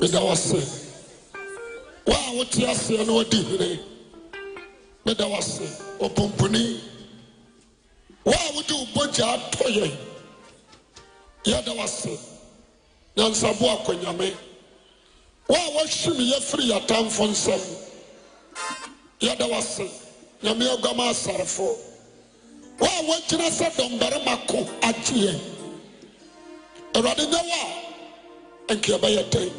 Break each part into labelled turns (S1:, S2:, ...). S1: meda wase wo a wote aseɛ na wadi hene meda wase ɔpomponi wo a wode wo bogya atɔ yɛn yɛda wase nyansabo akɔnyame wo a woahwim yɛfiri yɛatamfo nsɛm yɛda wase nyame aguama asarefo wo a woagyina sɛ dɔmbarima ko agye yɛn awurade nyɛ wo a ɛnka yɛbɛyɛ dɛn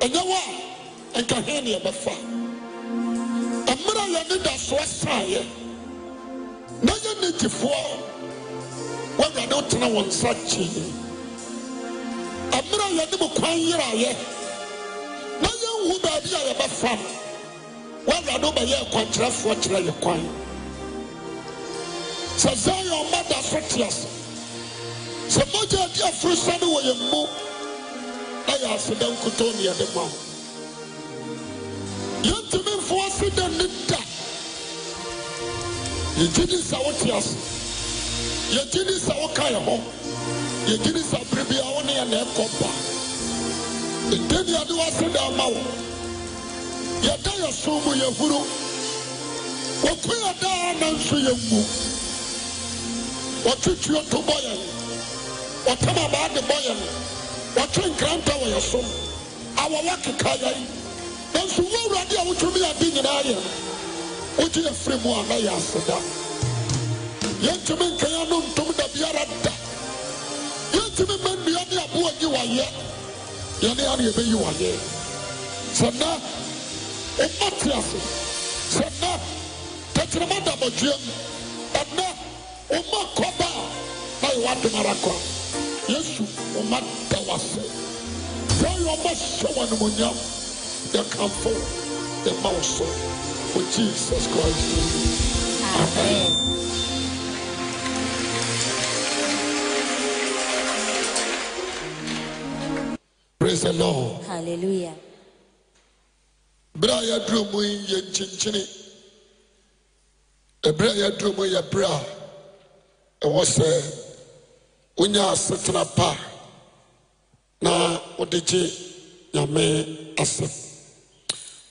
S1: ɛnyɛ wo a ɛnka hɛn ne yɛbɛfa ɛmmerɛ a yɛne da soɔ saeɛ na yɛ nagyifoɔ woawurade wotena wo nsa kyee ɛmmerɛ a yɛne mu kwan yeraeɛ na yɛnhu baabi a yɛbɛfa no woawurade wobɛyɛ ɛkwankyerɛfoɔ kyerɛ yɛ kwan sɛ zion ma da so te ase sɛ mogya adi aforo sane wɔ yɛn mu na yɛ aseda nkotɔ ne yɛde ma wo yɛntumi mfo aseda ne da yɛgye di sɛ wote ase yɛgye di sɛ woka yɛ ho yɛgye di sɛ bere bia wo ne yɛ na ɛkɔ ba ɛdɛ ne yɛde woaseda ama wo yɛda yɛ so mu yɛhuru wɔko yɛdaa nanso yɛmmu wɔtwetwe to bɔ yɛn wɔtam abaa de bɔ yɛn wɔtwe nkranta wɔ yɛ so awɔwɔ keka yɛn nanso wo awurade a wotumi ade nyinaa yɛ wogye yɛ firi mu a na yɛ aseda yɛntumi nka yɛ no ntom da biara da yɛntumi ma nnua ne aboa nyi wayɛ yɛne ara yɛbɛyi wayɛ sɛ nɛ ɔma te ase sɛ nɛ tɛkyerɛma da bɔdwea mu ɛnɛ ɔma kɔba a na yɛwɔ adom ara kɔ yesu ɔma da w ase sɛ yɛ ɔma hyɛ wɔ animonyam yɛkamfo wo, yɛma wo so for jesus christ amen praise the lord
S2: Hallelujah.
S1: berɛ a yɛaduro mu yi yɛ nkyinkyini ɛberɛ a yɛaduro mu yɛ berɛ a ɛwɔ sɛ wonya asetena pa na wode gye nyame asɛm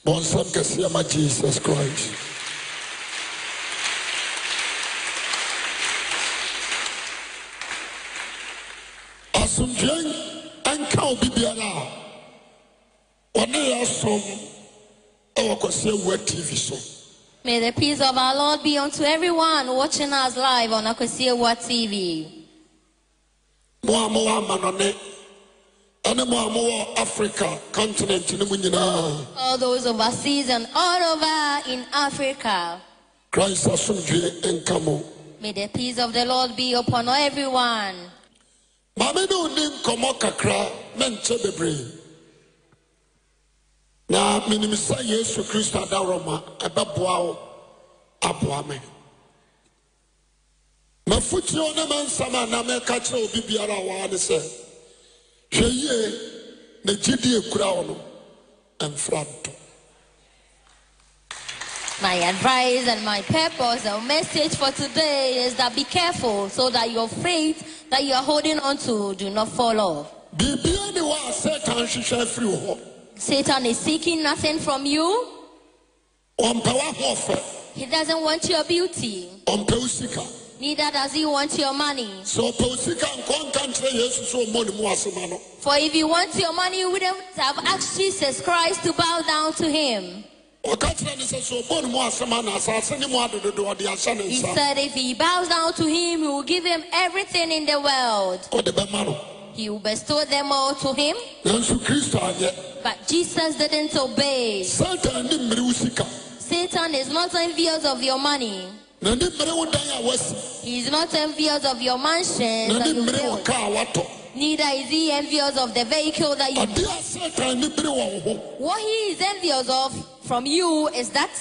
S1: bɔnsɛm kɛseɛ ma jesus christ asomdwee ɛnka wo bibiara a ɔne yɛ asom ɛwɔ kɔseɛ wua tv so
S2: May the peace of our Lord be unto everyone watching us live on Akosiewa TV.
S1: mo a mowɔ amanɔne ɛne mo a mowɔ africa continent no mu nyinaa
S2: All those overseas and all over in Africa.
S1: christ asomdwee nka mo
S2: May the peace of the Lord be upon everyone.
S1: maame ne onni nkɔmmɔ kakra menkyɛ bebree na menim sɛ yesu kristo adarɔma ɛbɛboa wo aboa me mafotuo ne mansɛm a na meka kyerɛ obi biara a waa ne sɛ hwɛ yie na gyidie kura wo no ɛmfra ntɔ
S2: My advice and my purpose and message for today is that be careful so that your faith that you are holding on to do not fall off.
S1: biribia ne hɔ a sɛtan hwehwɛ afiri wo hɔ
S2: Satan is seeking nothing from you.
S1: ɔmpɛ w'ahoɔfɛ
S2: He doesn't want your beauty,
S1: ɔmpɛ wo sika
S2: neither does he want your money.
S1: sɛ ɔpɛ wo sika nkɔ nka nkyerɛ yesu sɛ ɔmmɔ ne mu asɛma no
S2: For if you want your money, you wouldn't have asked Jesus Christ to bow down to him.
S1: ɔka kyerɛ ne sɛ sɛ ɔbɔ ne mu asɛm ana asase ne mu adododo ɔde ahyɛ ne
S2: He
S1: nsa
S2: said if he bows down to him, he will give him everything in the world.
S1: ɔde bɛma no
S2: He will bestow them all to him.
S1: nanso kristo anyɛ
S2: But Jesus didn't obey.
S1: satan ne mmere wo sika
S2: Satan is not envious of your money.
S1: na ne mmere wo dan a woasi
S2: He is not envious of your mansion
S1: na
S2: that
S1: ne
S2: you
S1: mmere wo
S2: built.
S1: kaa watɔ
S2: Neither is he envious of the vehicle that you.
S1: ade a satan ne bere wɔ wo ho
S2: What he is envious of from you is that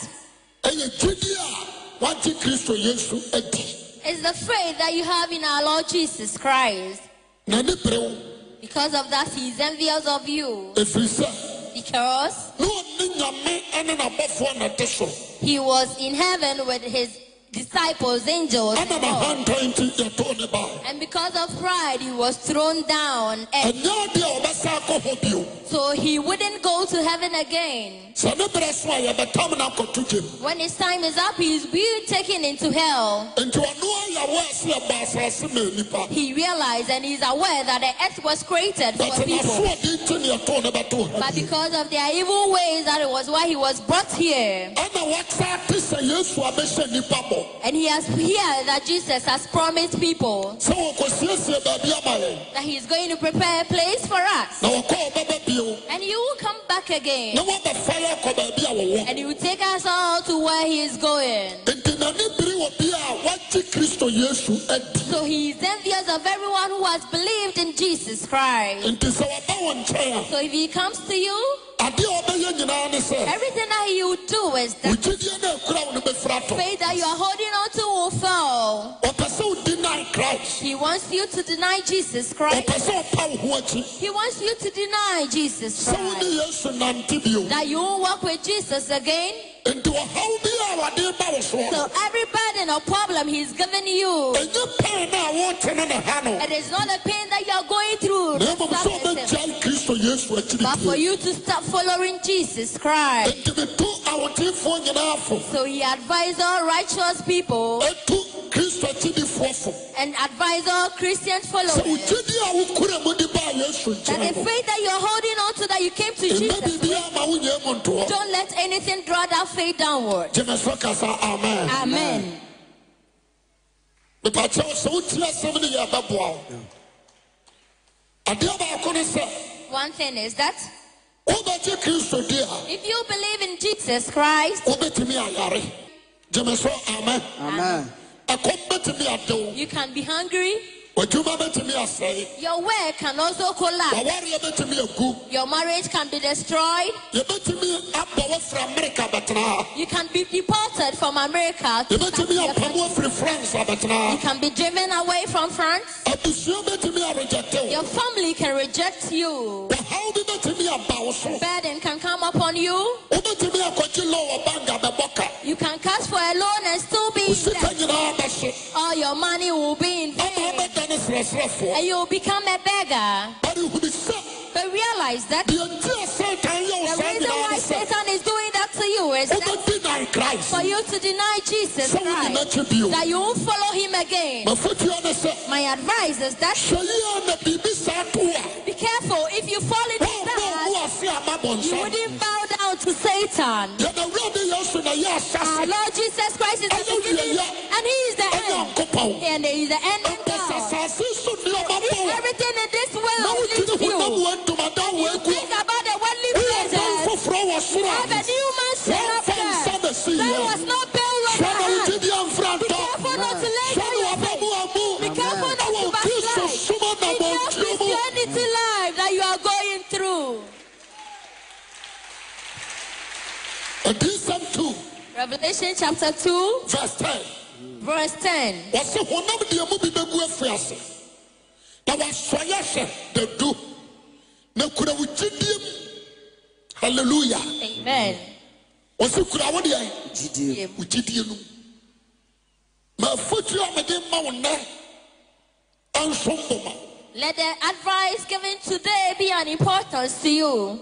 S1: ɛyɛ gyidi a woagye kristo yesu adi
S2: is the faith that you have in our Lord Jesus Christ.
S1: na ne bere wo
S2: Because of that, he is envious of you.
S1: ɛfiri sɛ
S2: Because
S1: ne ɔne nyame ɛne n'abɔfoɔ na ɛte soro
S2: he was in heaven with his disciples, angels,
S1: ɛna
S2: God.
S1: mahanta nti yɛtoo ne baa
S2: and because of pride, he was thrown down, on earth.
S1: ɛnyɛ adeɛ a wɔbɛsa akɔ hɔ bio
S2: so he wouldn't go to heaven again.
S1: sɛ ne berɛ so a yɛbɛtam no akɔto gye mu
S2: When his time is up, he is being taken into hell.
S1: enti ɔno ayawo ase ɛba asase ma nnipa
S2: He realized and he's aware that the earth was created
S1: but
S2: for people.
S1: nasoɔde nti ne yɛtoo ne bɛtoo ha
S2: But
S1: bio
S2: because of their evil ways, that it was why he was brought here.
S1: ɛna wɔsa te sɛ yesu abɛhyɛ nnipa bɔ
S2: And he has here that Jesus has promised people
S1: sɛ wɔkɔsiesie baabi ama yɛn
S2: that he's going to prepare a place for us.
S1: na wɔkɔ ɔbɛba bio
S2: And he will come back again.
S1: na wɔbɛfa yɛ akɔ baabi a wɔwɔ
S2: And he will take us all to where he is going.
S1: enti n'ani biri wɔ bi a wagye kristo yesu adi
S2: So he is envious of everyone who has believed in Jesus Christ.
S1: enti sɛ wɔba wɔ nkyɛn
S2: So if he comes to you,
S1: a adeɛ a wɔbɛyɛ nyinaa ne sɛ
S2: everything that he will do is
S1: wo
S2: that
S1: gyidie no akura wo no bɛfira to
S2: faith that you are holding on to will fall.
S1: ɔpɛ sɛ wodi nan christ
S2: He wants you to deny Jesus Christ.
S1: ɔpɛ sɛ ɔpa wo ho akyi
S2: He wants you to deny Jesus
S1: sɛ wo
S2: Christ.
S1: ne yesu nante bio
S2: That you won't walk with Jesus again.
S1: enti ɔhaw bi a awade ba wo soɔ no
S2: So every burden or problem he's given you,
S1: ɛnyɛ pɛn no a wɔte no ne ha no
S2: it is not a pain that you are going through.
S1: na mmom sɛ
S2: Stop it.
S1: ɔbɛgyae kristo yesu
S2: But for
S1: akyiri bio
S2: you to stop following Jesus Christ.
S1: enti metu awoteefoɔ nyinaa fo
S2: So he advised all righteous people
S1: ɛtu kristo akyidifoɔ fo
S2: and advised all Christian
S1: sɛ wo
S2: followers
S1: gyidie a wokura mu de baa yesu
S2: that
S1: nkyɛn
S2: the
S1: no
S2: faith that you're holding on to that you came to
S1: ɛma
S2: Jesus
S1: biribiaa ma wonyɛ mu ntoɔ
S2: Don't let anything draw that faith downward.
S1: gyeme so kasa amen
S2: Ah. Amen.
S1: mepakyɛw sɛ wotie asɛm ne yɛ bɛboa wo adeɛ baako ne sɛ
S2: One thing is that
S1: wobɛgye kristo di a
S2: if you believe in Jesus Christ,
S1: wobɛtumi ayare gyeme so amen
S3: Amen.
S1: ɛkɔm bɛtumi adew
S2: you can be hungry.
S1: w'adwuma bɛtumi asɛe
S2: Your work can also collapse.
S1: wawareɛ bɛtumi agu
S2: Your marriage can be destroyed.
S1: yɛbɛtumi abɔ wo fra amerika bɛtenaa
S2: You can be deported from America. to back to
S1: yɛbɛtumi
S2: your
S1: apam
S2: country.
S1: wo afiri france
S2: You
S1: abɛtenaa
S2: can be driven away from France.
S1: abusua bɛtumi aregyɛtew
S2: Your family can reject you.
S1: wɔhaw bi bɛtumi aba wo so
S2: Burden can come upon you.
S1: wobɛtumi akɔgye lɔ wɔ bank abɛbɔ ka
S2: You can cast for a loan and still be
S1: wo
S2: in
S1: sika
S2: debt.
S1: nyinaa bɛhye
S2: All your money will be in
S1: ama
S2: vain.
S1: wobɛda ne serɛserɛfoɔ
S2: And you'll become a beggar.
S1: bare hunu sɛ
S2: But realize that
S1: deɛ nti a satan yɛ wo
S2: The
S1: saa
S2: reason
S1: nyinaa
S2: why
S1: ne sɛ
S2: Satan is doing that to you is that
S1: wobɛdi nan christ
S2: for you to deny Jesus
S1: sɛ wode
S2: Christ,
S1: n'akyi bio
S2: that you won't follow him again.
S1: mafotua ne sɛ
S2: My advice is that
S1: hwɛ yie a na biribi saa to wo a
S2: be careful if you fall into
S1: wommɛ
S2: that,
S1: wo ase ama
S2: you
S1: bɔnsa
S2: wouldn't bow down to Satan.
S1: yɛda wurade yesu na yɛ
S2: Our
S1: asase
S2: Lord Jesus Christ is the
S1: Hallelujah.
S2: beginning and he is the
S1: ɛne
S2: end.
S1: ankopɔn
S2: And he is the end and
S1: ɛmpɛ sɛ
S2: God.
S1: asase so ne
S2: If
S1: ɔmabɔ
S2: everything in this
S1: na
S2: world
S1: wotumi
S2: leaves you,
S1: honam wɔ ntomadan wɔ
S2: you
S1: aku
S2: think about the worldly
S1: a woyɛ dan
S2: pleasures,
S1: foforɔ wɔ soro
S2: have
S1: a
S2: a new man set up
S1: wɔmfa nsa
S2: there.
S1: na sii
S2: There
S1: yɛ
S2: was no build
S1: hwɛ
S2: on
S1: na
S2: the
S1: wo
S2: hand.
S1: gyidi amfra ntɔ
S2: Careful not to lay
S1: hwɛ
S2: down
S1: ne
S2: your faith.
S1: wɔbɛmu amu
S2: Be careful not
S1: ɛwɔ
S2: to
S1: kristo
S2: backslide.
S1: soma na
S2: In your
S1: bɔntuo mu
S2: Christianity life that you are going through.
S1: adisɛm 2
S2: Revelation chapter 2,
S1: verse 10
S2: verse 10.
S1: wɔse honam deɛ mu bi bɛgu afi ase na wasɔyɛ hwɛ dadu na kura wo gyidie mu halleluya
S2: Amen.
S1: wɔse kura wo deɛ
S3: Jide.
S1: wo gyidie no maafotu a mede ma wo nnɛ anso mboma
S2: Let the advice given today be an importance to you.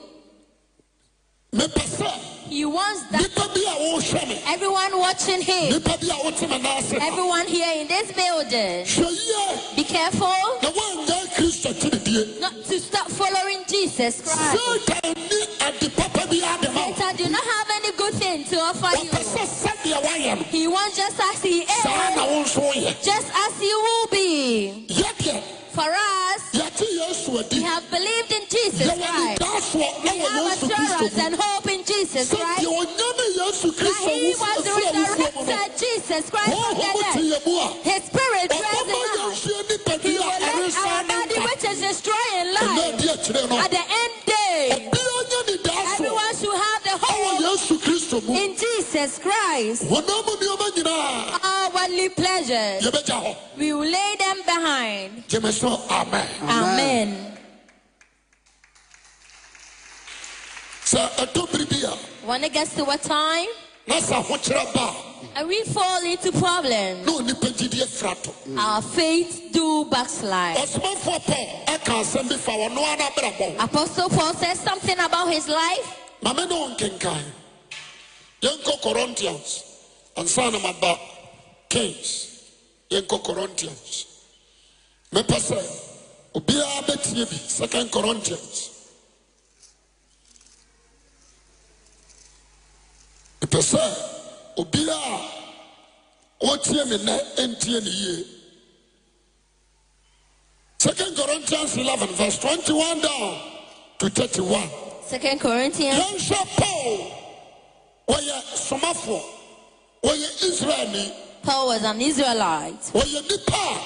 S1: mepɛ sɛ
S2: He wants that
S1: nnipa bi a wɔrehwɛ me
S2: everyone watching him,
S1: nnipa bi a wote me naase hwɛ
S2: everyone here in this building,
S1: yie
S2: be careful
S1: na woanyae kristo kyididie
S2: not to stop following Jesus Christ.
S1: satan ni ade papa bi ade ma wo
S2: Satan do not have any good thing to offer
S1: wɔpɛ
S2: you.
S1: sɛ sɛdeɛ woayɛ no
S2: He wants just as he
S1: saa
S2: is.
S1: na wo nso woyɛ
S2: just as you will be.
S1: yɛdeɛ
S2: For us,
S1: yɛte yesu adi
S2: we have believed in Jesus
S1: yɛwɔ
S2: Christ.
S1: nidasoɔ na
S2: We
S1: wɔ
S2: have
S1: yesu kristo
S2: assurance
S1: mu
S2: and hope in Jesus
S1: sɛdeɛ
S2: Christ.
S1: ɔnya ne yesu
S2: That
S1: kristo
S2: He was
S1: wofiri awufuo mu no
S2: resurrected, Jesus Christ from
S1: honhom
S2: the
S1: te
S2: dead.
S1: yɛ mu a
S2: His spirit dwells
S1: ɔbɛma
S2: in us.
S1: yɛnhyia
S2: He
S1: nipadua
S2: will
S1: a
S2: let
S1: ɛrensan
S2: our
S1: ne
S2: body,
S1: nka
S2: which is destroying
S1: ɛna adi
S2: life,
S1: akyirɛ no
S2: at the end day,
S1: ɔbia nya nidasoɔ
S2: everyone should have the
S1: ɛwɔ
S2: hope
S1: yesu kristo mu
S2: in Jesus Christ.
S1: honam mu nneɔma nyinaa
S2: All worldly pleasures,
S1: yɛbɛgya hɔ
S2: we will lay them behind.
S1: gyeme so amen
S3: Amen.
S2: Amen.
S1: sɛ ɛtɔ biribi a
S2: When it gets to a time,
S1: na sɛ ahokyerɛ ba a
S2: and we fall into problems.
S1: na onipa gyidie fra to
S2: Our faith do backslide.
S1: ɔsomafoɔ paul ɛka asɛm bi fa wɔno ara brabɔ
S2: Apostle Paul says something about his life.
S1: ma me ne wo nkenkan yɛnkɔ corinthians ansa na maba kings yɛnkɔ corinthians mepɛ sɛ obiara bɛtie bi second corinthians mepɛ sɛ obiara a wɔtie me nnɛ ɛntie ne yie second corinthians 11 verse 21 down to 31
S2: Second Corinthians
S1: yɛnhwɛ paul wɔyɛ somafoɔ wɔyɛ israelni
S2: Paul was an Israelite.
S1: wɔyɛ nipa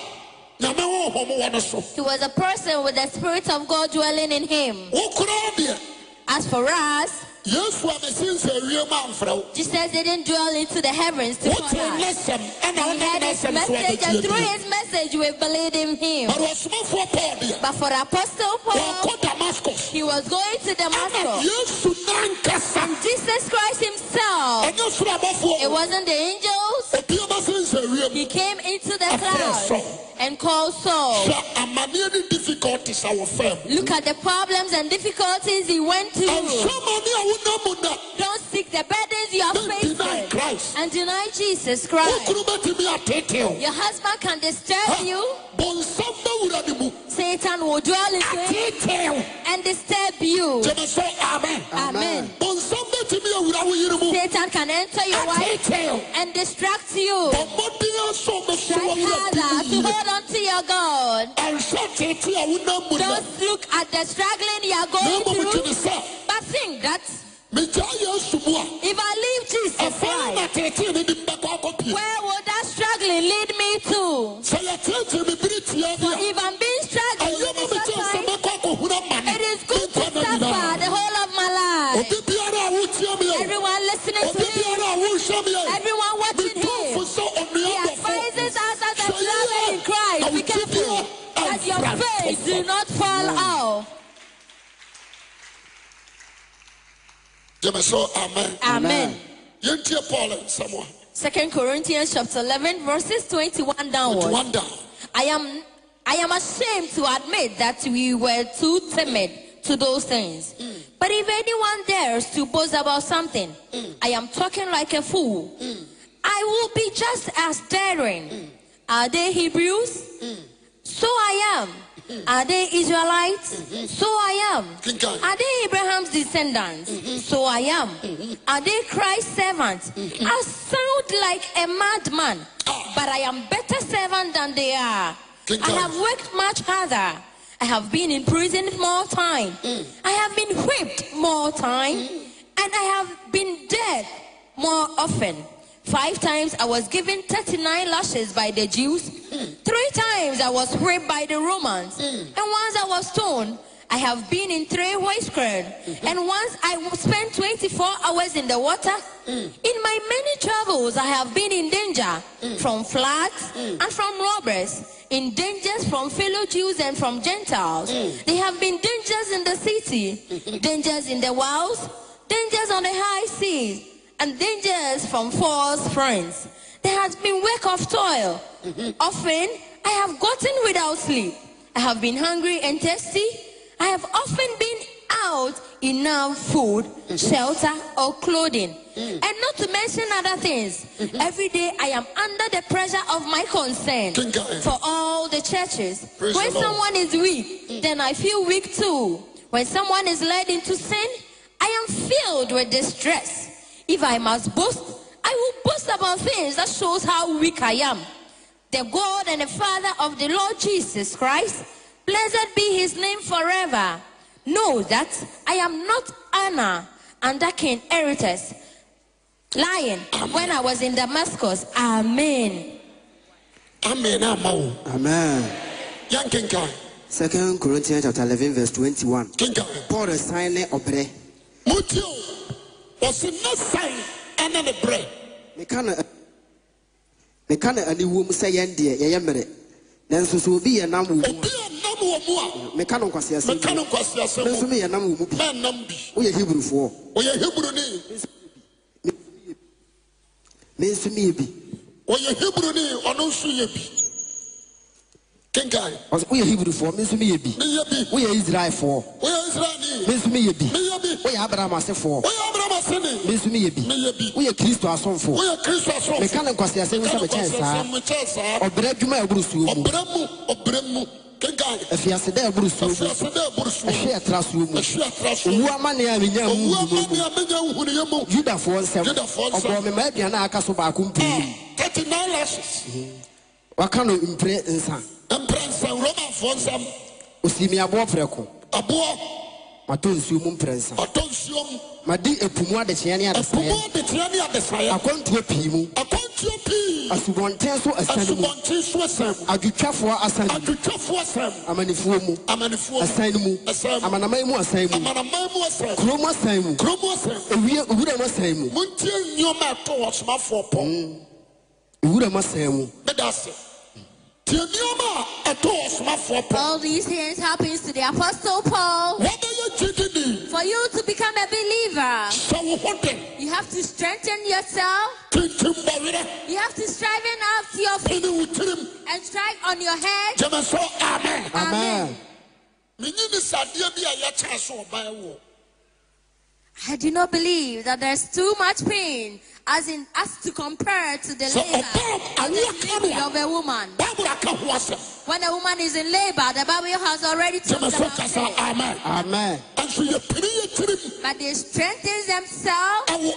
S1: a nyame honhom wɔ no so
S2: He was a person with the Spirit of God dwelling in him.
S1: wo koraa deɛ
S2: As for us,
S1: yesu a mesensa awie ma amfrɛ wo
S2: Jesus didn't dwell into the heavens to call
S1: wotee
S2: us.
S1: n'asɛm ɛna
S2: We
S1: wonam
S2: heard his
S1: n'asɛm so
S2: message, and through
S1: abɛtiatie
S2: his message, we believed in him.
S1: bare ɔsomafoɔ paul deɛ
S2: But for the Apostle Paul,
S1: wɔnkɔ damascus
S2: he was going to
S1: ɛna
S2: Damascus.
S1: yesu nankasa
S2: Jesus Christ himself.
S1: ɛnyɛ soro
S2: It
S1: abɔfoɔ
S2: wasn't the angels.
S1: obia bɛsensa awie
S2: He came into the
S1: After
S2: cloud
S1: Saul.
S2: and called Saul.
S1: hwɛ amanneɛ ne difficulties a wɔfam
S2: Look at the problems and difficulties he went
S1: ɛnhwɛ
S2: through.
S1: amane a wonam mu nɛ
S2: Don't seek the burdens you are
S1: Don't deny Oh,
S2: facing
S1: Christ.
S2: and deny Jesus Christ.
S1: Okunu bɛtumi atetew.
S2: Your husband can disturb you.
S1: Bɔnsam bɛwura ne mu.
S2: Satan will dwell in you
S1: Atetew.
S2: and disturb you.
S1: Jɛmɛ sɛ amen.
S2: Ah. Amen.
S1: Bɔnsam bɛtumi awura wo yiri mu.
S2: Satan can enter your wife
S1: Atetew.
S2: and distract you.
S1: Ɔmɔden aso bɛso
S2: Try
S1: awura
S2: harder
S1: ti
S2: to
S1: mu yie.
S2: hold on to your God.
S1: Ɛnhwɛ tete a wonam mu nɛ.
S2: Don't look at the struggling you are
S1: Na
S2: going
S1: mmom
S2: through,
S1: gyene sɛ
S2: but think that
S1: megyaa Yesu mu a
S2: If I leave Jesus
S1: ɛfa na
S2: Christ,
S1: tete ne de mbɛkɔ akɔpie.
S2: where will that struggling lead me to?
S1: Sɛ yɛteetee me bere tia
S2: For
S1: bi
S2: if I'm being
S1: a, ɛyɛ
S2: struggled
S1: ma
S2: with
S1: mekyɛ sɛ
S2: suffering,
S1: mɛkɔ akɔhunu amane.
S2: it is good to
S1: Menkɔ na
S2: suffer
S1: nyinaa.
S2: the whole of my life.
S1: Obi biara a wotia me a,
S2: Everyone listening to
S1: Obi
S2: me,
S1: biara a wɔnhyɛ me a,
S2: everyone watching
S1: metɔfo
S2: him,
S1: sɛ
S2: he
S1: ɔnua dɔfo.
S2: advises us as a
S1: Sɛ yɛyɛ
S2: beloved in Christ. Be careful that your faith do not fall off.
S1: Gyeme so, amen.
S2: Amen.
S1: Yɛntie Paul nsɛm a,
S2: Second Corinthians chapter 11 verses 21 downwards.
S1: nti wanda.
S2: I am I am ashamed to admit that we were too timid to those things. But if anyone dares to boast about something, I am talking like a fool. I will be just as daring. Are they Hebrews? So I am. Are they Israelites? So I am.
S1: Kinkan.
S2: Are they Abraham's descendants? So I am. Are they Christ's servants? I sound like a madman,
S1: Ah.
S2: but I am better servant than they are.
S1: King
S2: I
S1: James.
S2: have worked much harder. I have been in prison more time. I have been whipped more time. And I have been dead more often. Five times I was given 39 lashes by the Jews. Three times I was whipped by the Romans. And once I was stoned. I have been in three ways crowd. And once I w- spent 24 hours in the water. In my many travels, I have been in danger from floods and from robbers, in dangers from fellow Jews and from Gentiles. They have been dangers in the city, dangers in the wilds, dangers on the high seas, and dangers from false friends. There has been work of toil. Often I have gotten without sleep. I have been hungry and thirsty. I have often been out enough food, shelter, or clothing. And not to mention other things. Every day I am under the pressure of my concern
S1: King James.
S2: for all the churches.
S1: Praise
S2: when
S1: the Lord.
S2: someone is weak, then I feel weak too. When someone is led into sin, I am filled with distress. If I must boast, I will boast about things that shows how weak I am. The God and the Father of the Lord Jesus Christ, blessed be his name forever. Know that I am not Anna under King Aretas, lying when I was in Damascus. Amen.
S1: Amen ama wo.
S3: Amen.
S1: Yɛnkenkan,
S3: Second Corinthians chapter 11 verse 21.
S1: kenkan.
S3: Paul resign ne ɔbrɛ.
S1: Motie o, wɔse na sɛn ɛne ne berɛ.
S3: Meka na meka na aniwom sɛ yɛn deɛ yɛyɛ mmerɛ. Nanso sɛ obi yɛ nam wɔ mu
S1: Obi a nam wɔ mu
S3: a, meka no
S1: a, meka
S3: nkwaseasɛm.
S1: no nkwaseasɛm
S3: Me nso
S1: mu,
S3: meyɛ nam wɔ mu bi.
S1: mɛnnam bi.
S3: Woyɛ Hebrifoɔ.
S1: Wɔyɛ Hebrini.
S3: me nso meyɛ bi
S1: wɔyɛ hebrew ni ɔno nso yɛ bi kenkan
S3: ɔsɛ woyɛ hebrifoɔ me nso meyɛ bi
S1: meyɛ bi
S3: woyɛ israelfoɔ
S1: wɔyɛ israel ni
S3: me nso meyɛ bi
S1: meyɛ bi
S3: woyɛ abraham asefoɔ
S1: wɔyɛ abraham ase
S3: me
S1: ni
S3: nso meyɛ bi
S1: meyɛ bi
S3: woyɛ kristo asomfoɔ
S1: wɔyɛ kristu asɔfo
S3: meka ne nkwaseasɛm sɛ mekyɛn saa
S1: mo kyɛn saa
S3: ɔbrɛ adwuma a ɛboro suo mu
S1: ɔbrɛ mu ɔbrɛ mu kenkan
S3: afiase da a ɛboro suo mu
S1: afiase dɛ ɛboro so
S3: ɛhwe a ɛtra suo mu
S1: ɛhwe atra so
S3: owu amane a menya mu
S1: owu
S3: nwuma mu
S1: amani a menya nhunuyɛ mu
S3: yudafoɔ nsɛm
S1: Yudafoɔ nsɛm. Hmm.
S3: ɔbɔɔ me ma aduane a aka so baako
S1: Ah,
S3: mpiri
S1: thirty nine lashes
S3: waka no mpere nsa
S1: mprɛnsa romafoɔ nsɛm
S3: osii me aboɔ prɛko
S1: aboɔ
S3: matɔ nsuo mu mprɛnsa
S1: ɔtɔ nsuo mu
S3: made ɛpu mu adekyeɛ ne
S1: ɛpomu
S3: adesaeɛ
S1: adekyeɛ ne adesaeɛ
S3: akwantuo pii mu
S1: akwantuo pii
S3: asubɔnten so asan mu
S1: asubɔnten so asɛm
S3: adwotwafoɔ asan mu
S1: adwotwafoɔ asɛm
S3: amanifoɔ mu
S1: amanifoɔ
S3: asan mu
S1: Asan mu.
S3: amanaman mu asan mu
S1: amanaman mu asɛm
S3: kurom asan mu
S1: kurom asɛm
S3: owie owura mu asan mu
S1: montie nneɔma a ɛtɔ ɔsomafoɔ pɔ
S3: owura mu asan mu
S1: meda ase tie nneɔma a ɛtɔ ɔsomafoɔ pɔ
S2: All these things happens to the apostle Paul.
S1: wɔbɛyɛ gyidini
S2: For you to become a believer,
S1: hyɛ wo ho den
S2: you have to strengthen yourself.
S1: tintim bɔwerɛ
S2: You have to striving out to your feet
S1: pene wo tirim
S2: and strike on your head.
S1: gyeme so amen
S3: amen
S1: menyi ne sadeɛ bi a yɛkyɛɛ so ɔbaɛ wɔ
S2: I do not believe that there's too much pain as in as to compare to the
S1: So,
S2: labor
S1: Obama, are you coming?
S2: labor of a woman.
S1: bible aka ho asɛm
S2: When a woman is in labor, the Bible has already told
S1: gyeme
S2: us
S1: so
S2: about
S1: kasa
S2: it.
S1: amen
S3: amen
S1: ɛnso yɛpene yɛ tirim
S2: But they strengthen themselves
S1: ɛwo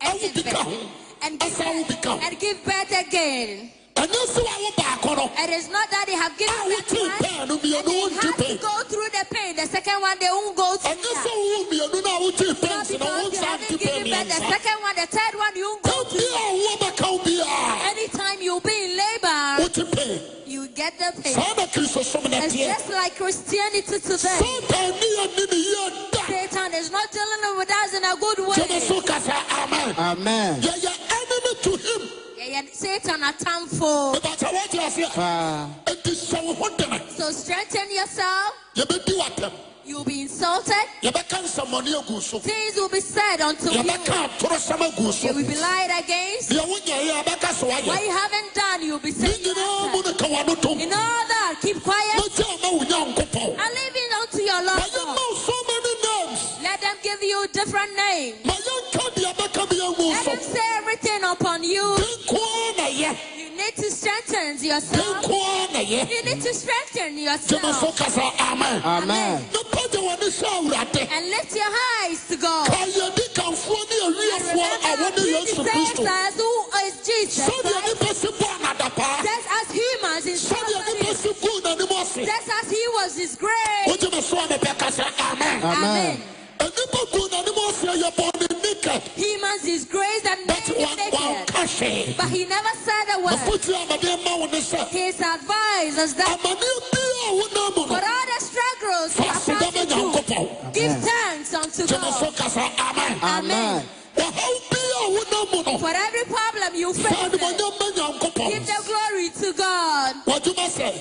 S2: and
S1: Ɛwo
S2: give
S1: bi ka ho.
S2: birth. And give,
S1: Ɛsɛ wo bi ka ho.
S2: birth, and give birth again.
S1: ɛnyɛ sɛ wa wo baako no
S2: It is not that they have
S1: Ah,
S2: given
S1: we
S2: birth
S1: too
S2: once,
S1: pain, no,
S2: and
S1: we
S2: they
S1: are not too
S2: have to
S1: pain.
S2: go through the pain. The second one, they won't go through
S1: ɛnyɛ sɛ
S2: that.
S1: wowo mmienu no a wotee
S2: Not
S1: pɛnsi na wo
S2: because you
S1: nsa
S2: haven't
S1: nte
S2: given
S1: pɛ
S2: birth. The
S1: miɛnsa
S2: second one, the third one, you won't go
S1: tam
S2: through
S1: bia
S2: that.
S1: a wowɔ bɛka wo biaa
S2: Anytime you'll be in labor,
S1: wote pɛ
S2: you get the pain.
S1: saa na kristo som na
S2: It's
S1: teɛ
S2: just like Christianity today.
S1: satan ne yɛni ne yie da
S2: Satan is not dealing with us in a good
S1: gyeme
S2: way.
S1: so kasa amen
S3: amen
S1: yɛyɛ enemy to him
S2: Yeah, yeah, Satan are thankful.
S1: mebata wote aseɛ
S3: paa
S1: ɛnti sɛ wo ho dene
S2: So strengthen yourself.
S1: yɛbɛdi watɛm
S2: You'll be insulted.
S1: yɛbɛka nsɛmmɔne agu so
S2: Things will be said unto you.
S1: yɛbɛka atorosɛm agu so
S2: You will be lied against.
S1: deɛ wonyɛyɛ ɛbɛka so
S2: What
S1: wayɛ
S2: you haven't done, you'll be
S1: ne
S2: said.
S1: nyinaa mu
S2: after.
S1: ne ka wano tom
S2: In all that, keep quiet
S1: magye ama wo nyankopɔn
S2: and leave it unto your Lord.
S1: mayɛ ma
S2: God.
S1: wo so many names
S2: Let them give you different names.
S1: mayɛ nka deɛ ɛbɛka me agu
S2: Let
S1: so
S2: them say everything upon you.
S1: denkoa na yɛ
S2: You need to strengthen yourself.
S1: denkoa na yɛ
S2: You need to strengthen
S1: gyeme so
S2: yourself.
S1: kasa amen
S3: Ah. amen
S1: ne pagya wɔne sɛ awurade
S2: And lift your eyes to God.
S1: ka yɛdi kamfoɔ ne
S2: And
S1: awiefoɔ a
S2: remember,
S1: wɔne
S2: Jesus
S1: yesu
S2: saves
S1: kristo
S2: us. Who is Jesus?
S1: sɛdeɛ nipa si bɔ anadapaa
S2: Just as humans in
S1: sɛdeɛ nipa
S2: somebody,
S1: si guu n'anim ase
S2: just as he was his grace.
S1: wogye me so a mebɛka sɛ amen
S2: Amen.
S3: amen
S1: nipa guu n'anim ase yɛ bɔ ne nika
S2: Humans is grace that
S1: but
S2: made him naked.
S1: wanka hwee
S2: But he never said a word.
S1: afotu a mede ma wo ne sɛ
S2: His advice is that
S1: amaneɛ bia a wonam mu
S2: for all
S1: no
S2: the struggles
S1: fa
S2: you are
S1: sedama
S2: passing through,
S1: nyankopɔn
S2: give thanks unto
S1: gye me so
S2: God.
S1: kasa
S3: Ah.
S1: amen
S3: amen
S1: wɔhaw bia a wonam mu no
S2: For every problem you
S1: fa
S2: face,
S1: animonyam ma
S2: give
S1: nyankopɔn
S2: the glory to God.
S1: wadwuma sɛ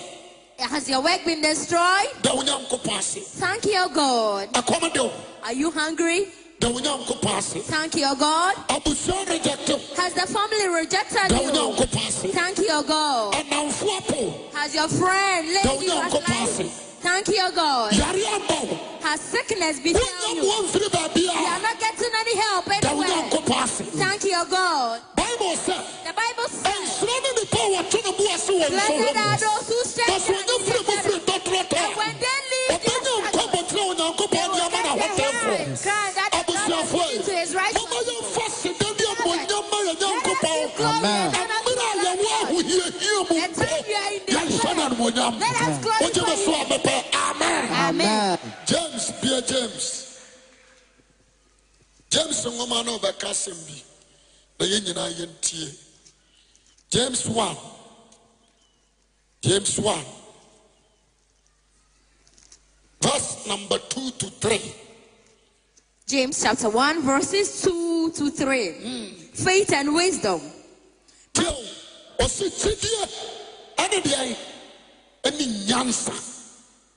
S2: Has your work been destroyed?
S1: da wo nyankopɔn ase
S2: Thank your God.
S1: ɛkɔm de wo
S2: Are you hungry?
S1: da wo nyankopɔn ase
S2: Thank your God.
S1: abusua rejecte wo
S2: Has the family rejected
S1: da wo
S2: you?
S1: nyankopɔn ase
S2: Thank your God.
S1: ɛnamfo apo
S2: Has your friend laid you
S1: Dawuda
S2: aside?
S1: nkɔpɔ ase.
S2: Thank your God.
S1: yare aba wo
S2: Has sickness befell you?
S1: wonyamoa mfiri baabi
S2: You are
S1: a
S2: not getting any help
S1: da wo
S2: anywhere.
S1: nyankopɔn ase
S2: Thank your God.
S1: bible sɛ
S2: The Bible says,
S1: ɛnsuro ne nipa a wɔto ne bo ase wɔ
S2: Blessed are
S1: nsɔhɔ mu
S2: those who
S1: na
S2: stand
S1: sɛ ɔnyɛ mfiri mu firi
S2: And when
S1: dɔtorɔtɔ
S2: they
S1: a
S2: leave this
S1: ɔbɛnya
S2: earth,
S1: nkɔbɔtena
S2: they
S1: onyankopɔn
S2: will
S1: de ama
S2: lift
S1: na
S2: their
S1: hɔtɛmfo
S2: hands, crying that the Lord has
S1: abusuafoe
S2: given to his righteous
S1: mama
S2: people.
S1: yɛmfa seda bi amɔnyam ma yɛ
S2: Let us give
S1: nyankopɔn
S2: glory
S3: Amen.
S2: and honor to
S1: ɛmmerɛ a
S2: the
S1: yɛwɔ
S2: Lord.
S1: ahohiahia mu
S2: The time you are in
S1: mpo
S2: the
S1: yɛnhyɛ no animonyam
S2: Let us
S1: wogye me so a
S2: glorify him.
S1: mepɛ amen
S3: amen
S1: james bia james james nwoma no bɛka asɛm bi na yɛn nyinaa yɛntie james 1 james 1 verse number 2 to 3
S2: James chapter 1, verses 2 to 3. Faith and wisdom.
S1: tiɛ o ɔsi kyidiɛ ɛne deɛ ɛne nyansa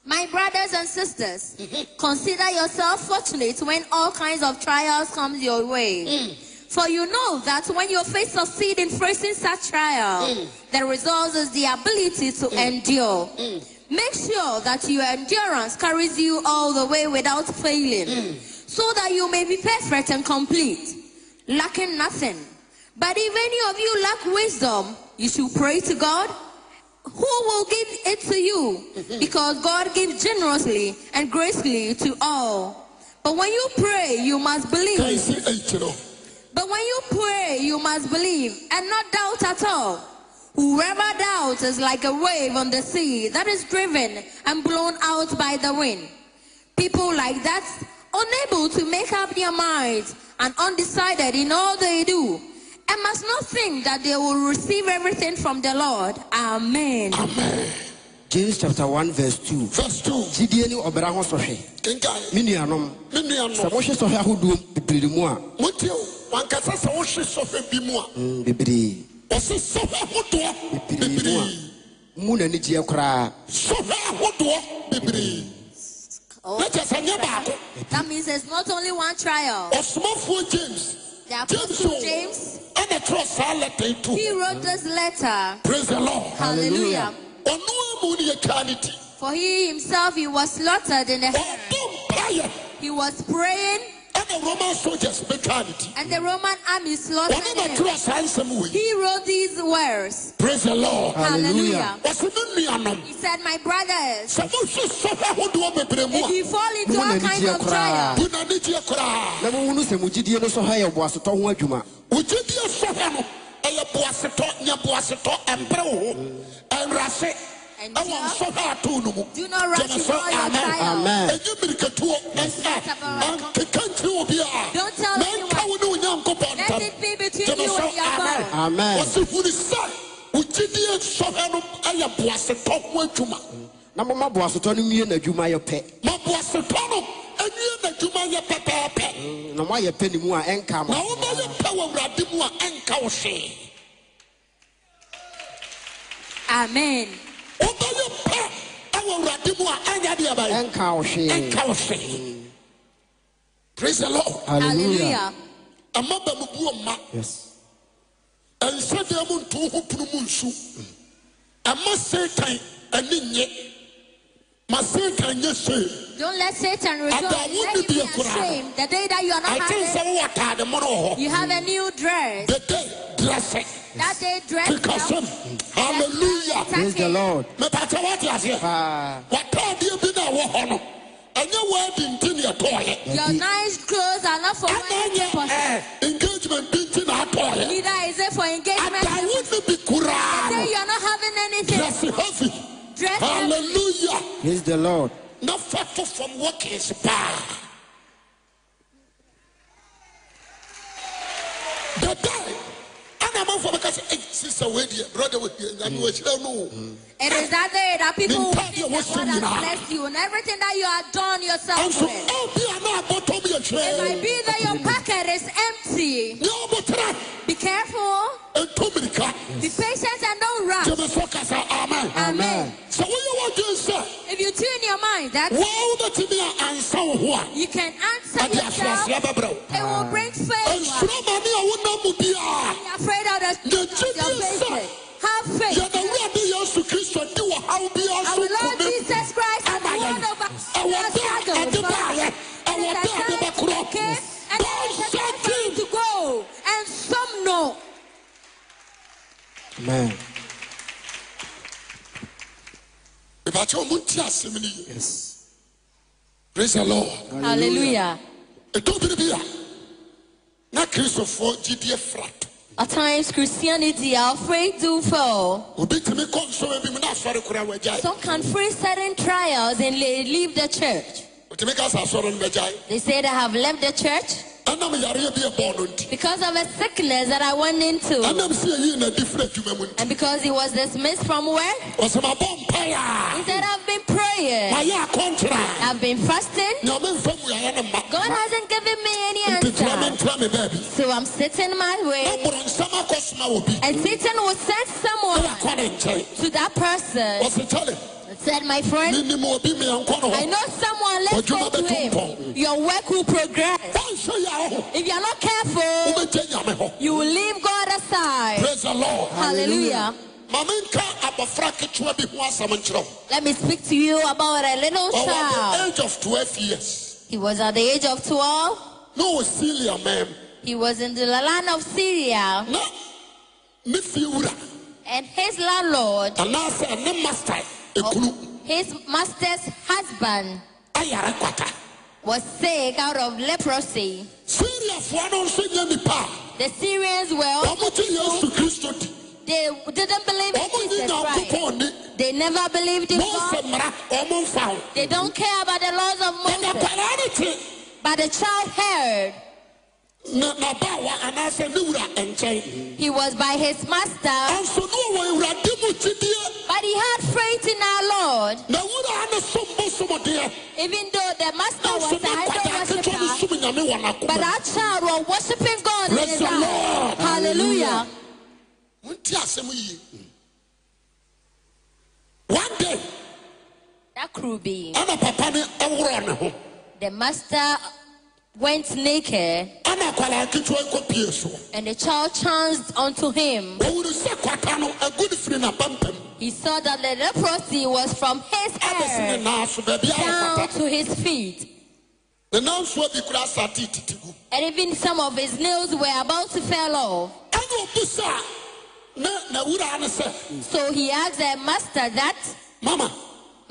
S2: My brothers and sisters, consider yourself fortunate when all kinds of trials come your way. For you know that when your faith succeed in facing such trial, the result is the ability to endure. Make sure that your endurance carries you all the way without failing, so that you may be perfect and complete, lacking nothing. But if any of you lack wisdom, you should pray to God, who will give it to you, because God gives generously and graciously to all. But when you pray, you must believe.
S1: Can you see eight no?
S2: But when you pray, you must believe and not doubt at all. Whoever doubts is like a wave on the sea that is driven and blown out by the wind. People like that, unable to make up their minds and undecided in all they do, and must not think that they will receive everything from the Lord. Amen.
S1: Amen.
S3: james chapter one verse two
S1: Verse two.
S3: gyidie ne ɔbɛra ho sɔhwɛ
S1: Kinkai.
S3: me nuanom
S1: Me nua
S3: sɛ
S1: no.
S3: mohwɛ sɔhwɛ ahodoɔ bebree mu a
S1: Wotie o. Wankasa sɛ wohwe sɔhwɛ bi mu a,
S3: mm, bebree
S1: wɔse sɔhwɛ ahodoɔ
S3: bebree mu
S1: bebree.
S3: a mu n'ani gyeɛ koraa
S1: sɔhwɛ ahodoɔ bebree
S2: Oh,
S1: na kyɛ sɛ nyɛ baako
S2: that means there's not only one trial.
S1: ɔsomafoɔ james
S2: The
S1: james
S2: Apostle James,
S1: o ɛna twerɛ saa lɛta yi to
S2: he wrote this letter.
S1: praise the lord
S2: Hallelujah.
S1: ɔno amu ne yɛtwaa ne ti
S2: For he himself, he was slaughtered in the
S1: ɔdɔ mpayɛ
S2: He was praying,
S1: ɛna roman soldiers bɛtwaa ne ti
S2: and the Roman army
S1: ɔno na
S2: slaughtered him.
S1: twerɛ saa nsɛm wei
S2: He wrote these words.
S1: praise the lord
S3: Hallelujah.
S2: Hallelujah.
S1: ɔse me nuanom
S2: He said, My brothers,
S1: sɛ mohwe sɔhwɛ ahodoɔ bebree mu
S2: if
S1: a
S2: you fall into
S3: Mo na
S2: all
S3: ni
S2: kinds
S3: dia
S2: of
S3: koraa.
S2: trial,
S1: bu n'ani gyeɛ koraa
S3: na mohunu sɛ mo gyidie no sɔhwɛ yɛ boasetɔ ho adwuma
S1: wogyedie sɔhwɛ no ɛyɛ boasetɔ nyɛ boasetɔ ɛmprɛ wo ho ɛnwrase
S2: And
S1: ɛwɔ
S2: so-
S1: nsɔhwɛ atoo no mu
S2: do not rush
S1: Gyeme
S2: into
S1: so,
S2: all your
S1: amen.
S2: trial.
S3: amen
S1: ɛnyɛ mmirikatuo ɛnka ɛnkeka nkyerɛ obi a
S2: Don't tell
S1: na
S2: anyone.
S1: nka wo ne wo nyankopɔn
S2: Let it
S1: ntam
S2: be between
S1: Gyeme
S2: you
S1: so
S2: and your
S1: amen
S2: God.
S3: Amen.
S1: ɔse hunu sɛ wo gyidie nsɔhwɛ no ɛyɛ boasetɔ ho adwuma
S3: na moma boasetɔ no nwie n'adwuma yɛ pɛ
S1: ma boasetɔ no ɛnwie n'adwuma yɛ pɛpɛɛpɛ
S3: na moayɛ pɛ ne mu a ɛnka
S1: na
S3: mo
S1: wobɛyɛ pɛ wɔ awurade mu a ɛnka wo hwee
S2: Amen.
S1: wobɛyɛ pɛ ɛwɔ awurade mu a ɛnyɛ deɛ ɛbɛyɛ
S3: ɛnka wo hwee
S1: ɛnka wo hwee praise the lord
S2: Hallelujah.
S1: ɛma bɛmubu ɔma
S3: yes
S1: ɛnsɛdeɛ mu nto ho pono mu nsu ɛma satan ani nye ma satan nyɛ sei
S2: Don't let Satan rejoice.
S1: Ada, wo
S2: Let him
S1: ni
S2: be
S1: dia koraa.
S2: ashamed the day that you are not
S1: ɛkyɛn sɛ
S2: having.
S1: wowɔ taade mono wɔ hɔ
S2: You have a new dress.
S1: dede drɛsɛ
S2: That day dress.
S1: kekasɛm halleluya
S3: praise the lord Ah.
S1: mepakyɛ woate aseɛ
S3: paa
S1: wataadeɛ bi na ɛwɔ hɔ no ɛnyɛ woadi nti ne ɛtɔɔyɛ
S2: Your nice clothes are not for
S1: ɛna
S2: wearing purpose.
S1: ɛnyɛ Eh, engagement bi nti na atɔɔyɛ
S2: Neither is it for engagement.
S1: ada wo
S2: purpose.
S1: ne bi
S2: The
S1: koraa
S2: day
S1: no
S2: you are not having anything.
S1: drɛse heavy
S2: Dress. up.
S1: halleluya
S3: praise the lord
S1: na fato from workers paa dadae ana amanfoɔ bɛka sɛ ei sisa weideɛ brɔda wɔhie nyame wɔahyira no o
S2: It is that day that people will
S1: Nintendo
S2: think
S1: was
S2: that God has
S1: singing, ah.
S2: blessed you and everything that you have done yourself
S1: ɛnso
S2: with.
S1: obi a na abɔtɔ m
S2: It might
S1: yɛhwerɛ
S2: be that your pocket is empty.
S1: ne ɔbotera
S2: Be careful,
S1: ɛnto mirika
S2: be patient, and don't rush.
S1: gyeme so kasa
S2: Ah.
S1: amen
S2: Amen.
S1: sɛ woyɛ wɔdwen sɛ
S2: If you tune your mind that
S1: woa wobɛtumi a ansa wo ho a
S2: you can answer
S1: ade
S2: yourself,
S1: asoaseɛ
S2: it
S1: bɛbrɛ wo
S2: will bring faith.
S1: ɛnsuro ma ne a wonam mu biaa
S2: Be afraid of the
S1: The
S2: of your
S1: genius, sir.
S2: faith. Have faith.
S1: yɛda wurade yesu kristo di wɔ haw biaa
S2: Our
S1: so
S2: Lord
S1: nkɔme
S2: Jesus Christ has
S1: ama
S2: won
S1: yɛn
S2: over
S1: ɛwɔ
S2: our
S1: da a
S2: struggles.
S1: ɛde
S2: for us.
S1: baayɛ
S2: And
S1: ɛwɔ
S2: it
S1: da a de
S2: has time
S1: bɛkorɔ
S2: came, and
S1: da
S2: it is a time for you
S1: nsakim
S2: to go, and some no.
S3: amen
S1: mepakyɛ ɔ monti asɛm no yi
S3: yes
S1: praise the lord
S2: Hallelujah.
S1: ɛdɔbere bi a na kristofoɔ gyidie frato
S2: At times, Christianity are afraid to fail.
S1: obi tumi kɔ nsɔma bi mu na asɔre koraa wagyae
S2: Some can face certain trials and they leave the church.
S1: otumi ka sɛ asɔre no bɛgyae
S2: They said, I have left the church
S1: ɛnam yareɛ bi ɛbɔɔ no nti
S2: because of a sickness that I went into.
S1: ɛnam sɛ yɛyii nadi firi adwuma mu nti
S2: And because he was dismissed from work,
S1: ɔsɛ mabɔ mpae a
S2: he said, I've been praying,
S1: mayɛ akɔntraa
S2: I've been fasting.
S1: nyame mfa muaeɛ ne mma
S2: God hasn't given me any
S1: nti tena me
S2: answer.
S1: ntena me baabi
S2: So I'm sitting my
S1: na
S2: way.
S1: borɔ nsɛm akɔsoma wɔ bi
S2: And Satan will send
S1: na
S2: someone
S1: wakɔ ne nkyɛn
S2: to that person
S1: ɔse kyɛle
S2: and said, My friend,
S1: menim obi meankɔ no
S2: I
S1: hɔ
S2: know someone, let's
S1: Ɔdwuma
S2: go to
S1: bɛtompɔn.
S2: him. Your work will progress.
S1: wanhwɛ yɛ ho
S2: If you are not careful,
S1: wobɛgye nyame hɔ
S2: you will leave God aside.
S1: praise the lord
S2: Hallelujah.
S1: ma menka abɔfra ketewa bi ho asɛm nkyerɛ wo
S2: Let me speak to you about a little
S1: ɔwɔ the
S2: child.
S1: age of 12 years
S2: He was at the age of 12.
S1: na ɔwɔ silia mam
S2: He was in the land of Syria,
S1: na ne fie wura
S2: and his landlord,
S1: anaasɛ ne master ekunu
S2: his master's husband,
S1: ayare kwata
S2: was sick out of leprosy.
S1: siriafoɔ no nso nyɛ nipa
S2: The Syrians were
S1: a
S2: all,
S1: wɔmogye yesu kristo di
S2: they didn't believe in
S1: wɔmonye
S2: Jesus Christ.
S1: nyankopɔn ni
S2: They never believed in
S1: mose
S2: God.
S1: mmara ɔmo mfa ho
S2: They don't care about the laws of
S1: ɛna
S2: Moses.
S1: paraa ne te
S2: But the child heard.
S1: na n'abaawa anaasɛ ne wura nkyɛn
S2: He was by his master,
S1: ɛnso ne ɔwɔ awurade mu gyidie
S2: but he had faith in our Lord.
S1: na wura ne som bosomodeɛ
S2: Even though the master was
S1: ɛnso
S2: an
S1: ne
S2: idol
S1: nkwadaa ketewa ne
S2: worshiper,
S1: som nyame wɔ
S2: but
S1: n'akoma
S2: our child was worshiping God in
S1: Praise
S2: his
S1: the
S2: heart.
S1: Lord.
S2: Hallelujah.
S1: monti asɛm yie one day
S2: That could be.
S1: ana papa ne ɛworɔ ne ho
S2: The master went naked,
S1: ana akwadaa ketewa yi kɔpie soɔ
S2: and the child chanced unto him.
S1: wɔwuru sɛ kwata no agu ne firi n'apampam
S2: He saw that the leprosy was from his
S1: abɛsi ne
S2: hair
S1: nan so baabi a
S2: down
S1: ɔkwata
S2: to his feet,
S1: ne nan so bi kura asate titi gu
S2: and even some of his nails were about to fall off.
S1: ɛna ɔbu sa na n'awura ne sɛ
S2: So he asked the master that,
S1: mama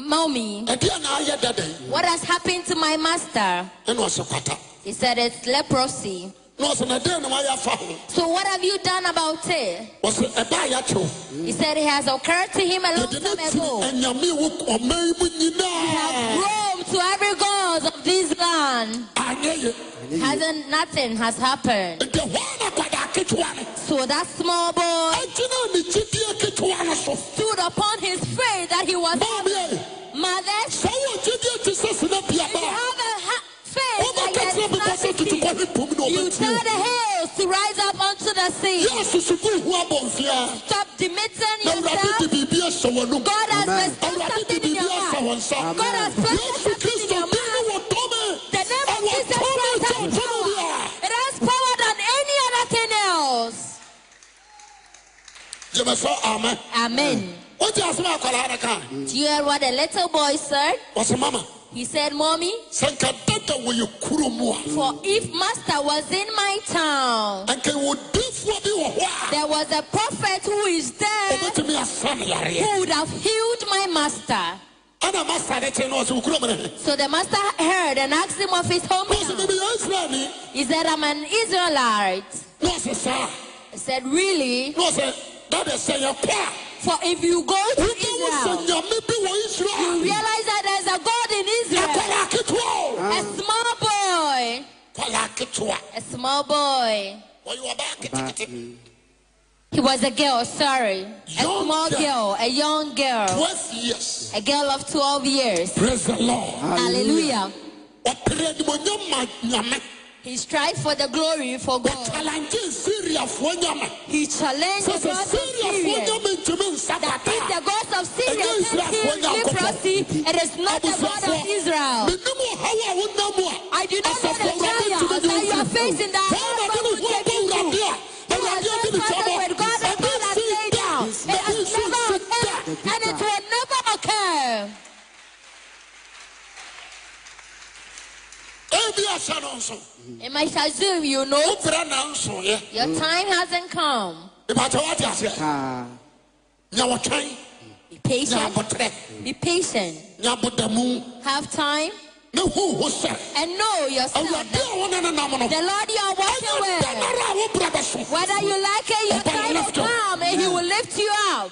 S2: Mommy,
S1: ɛdeɛ na ayɛ dada yi
S2: what has happened to my master?
S1: ɛna ɔsɛ kwata
S2: He said, It's leprosy.
S1: na ɔsɛ na dɛn na wayɛ afa ho
S2: So what have you done about it?
S1: ɔsɛ ɛbaa yɛ akyew
S2: He said, It has occurred to him a long
S1: yɛde ne
S2: time
S1: tiri
S2: ago.
S1: anyame wo ɔman yi mu
S2: He
S1: nyinaa
S2: has roamed to every god of this land.
S1: anyɛ ye
S2: Hasn't nothing has happened.
S1: nti hɔ na kwadaa ketewa no
S2: So that small boy
S1: ɛgyina ne gyidie ketewa no so
S2: stood upon his faith that he was
S1: maame ɛ
S2: mothers.
S1: sɛ wɔ gyidie te sɛ sena
S2: If you have a
S1: biabaa
S2: ha- faith
S1: woma
S2: like
S1: ka kyerɛ
S2: the
S1: bepɔ sɛ
S2: sand to
S1: tutu
S2: sea,
S1: kɔhe pom na
S2: you tell
S1: ɔbɛtie
S2: the hills to rise up onto the sea.
S1: yɛ susugu hu abɔmfea
S2: Stop demitting
S1: na awurade de
S2: yourself.
S1: biribi ahyɛ w'anum
S2: God
S3: Amen.
S2: has bestowed
S1: awurade de
S2: something in
S1: biribi
S2: your
S1: ahyɛ
S2: heart.
S1: wɔ nsa
S2: God has
S1: yesu
S2: placed something in
S1: kristo
S2: your
S1: din ne
S2: mind.
S1: wɔ tɔme
S2: The name of
S1: ɛwɔ
S2: Jesus
S1: tɔme
S2: Christ
S1: kyɛ
S2: has
S1: ɔtɔme
S2: power.
S1: bia
S2: It has power than any other thing else.
S1: gyeme sɛ amɛ
S2: Amen.
S1: wogye asɛm a akwaraa no kaa
S2: Do you hear what the little boy said?
S1: ɔsɛ mama
S2: He said, Mommy,
S1: sɛ nka dada wɔ yɛ kuro mu a
S2: for if Master was in my town,
S1: anka wɔ difoɔ bi wɔ hɔ
S2: there was a prophet who is
S1: a
S2: there
S1: ɔbɛtumi asa no yareɛ
S2: who would have healed my master.
S1: ana masa ne kyerɛ no ɔsɛ wo kuro mu ne he
S2: So the master heard and asked him of his
S1: na ɔsɛ
S2: hometown.
S1: bɛbi yɛ israelni
S2: He said, I'm an Israelite.
S1: na ɔsɛ saa
S2: I said, Really?
S1: na ɔsɛ dada sɛ yɛkɔ a
S2: For if you go to
S1: wobɛwo sɛ
S2: Israel,
S1: nyame bi wɔ
S2: you
S1: israel
S2: realize that there's a God in Israel.
S1: akwaraa ketewa o
S2: A small boy,
S1: kwaraa ketewa
S2: a small boy.
S1: wɔyɛ ɔbaa ketekete
S2: He was a girl, sorry. A
S1: Young
S2: small
S1: girl.
S2: girl, a young girl,
S1: twelve years
S2: a girl of 12 years.
S1: praise the lord
S2: Hallelujah.
S1: ɔpere animonyam ma nyame
S2: He strived for the glory for God.
S1: ɔtalante siriafoɔ nyama
S2: He challenged
S1: sɛ
S2: the
S1: sɛ
S2: gods of
S1: siriafoɔ
S2: Syria.
S1: nyama ntumi nsa
S2: That if
S1: pata
S2: the gods of Syria can't
S1: Against Israel,
S2: heal
S1: when thou
S2: leprosy, it is not the God of Israel.
S1: menim ɔhaw a wonam mu a
S2: I do not know
S1: asafo
S2: the
S1: Awurade
S2: trials
S1: ntumi
S2: that
S1: ne
S2: you
S1: wo
S2: are
S1: mfiri
S2: facing that
S1: Saa na
S2: God
S1: de ne
S2: will
S1: ho
S2: take
S1: abɔ
S2: you
S1: Awurade
S2: through.
S1: a
S2: You are
S1: Awurade
S2: so
S1: adi ne
S2: present
S1: hwammɔ.
S2: with God and
S1: Ɛde
S2: God has
S1: nsi
S2: laid
S1: da.
S2: down. It
S1: Ɛde
S2: has
S1: nsi
S2: never
S1: nsi da.
S2: occurred and it will never occur.
S1: Ebi ahyɛ no nso
S2: It might assume you know
S1: wobrɛ na nsoeɛ
S2: your time hasn't come.
S1: mepakyɛ woate aseɛ
S3: Kaa.
S1: nya wɔtwɛn
S2: Be
S1: nya
S2: patient.
S1: abotrɛ
S2: Be patient.
S1: nya abodamu
S2: Have time
S1: ne huhu sɛ
S2: and know yourself.
S1: awurade
S2: that
S1: a wo ne ne nam no
S2: The Lord you are walking
S1: ɛnyɛ
S2: with.
S1: danara a wobrɛ bɛso
S2: Whether you like it, your
S1: Open
S2: time
S1: lift
S2: will
S1: up.
S2: come and He will lift you up.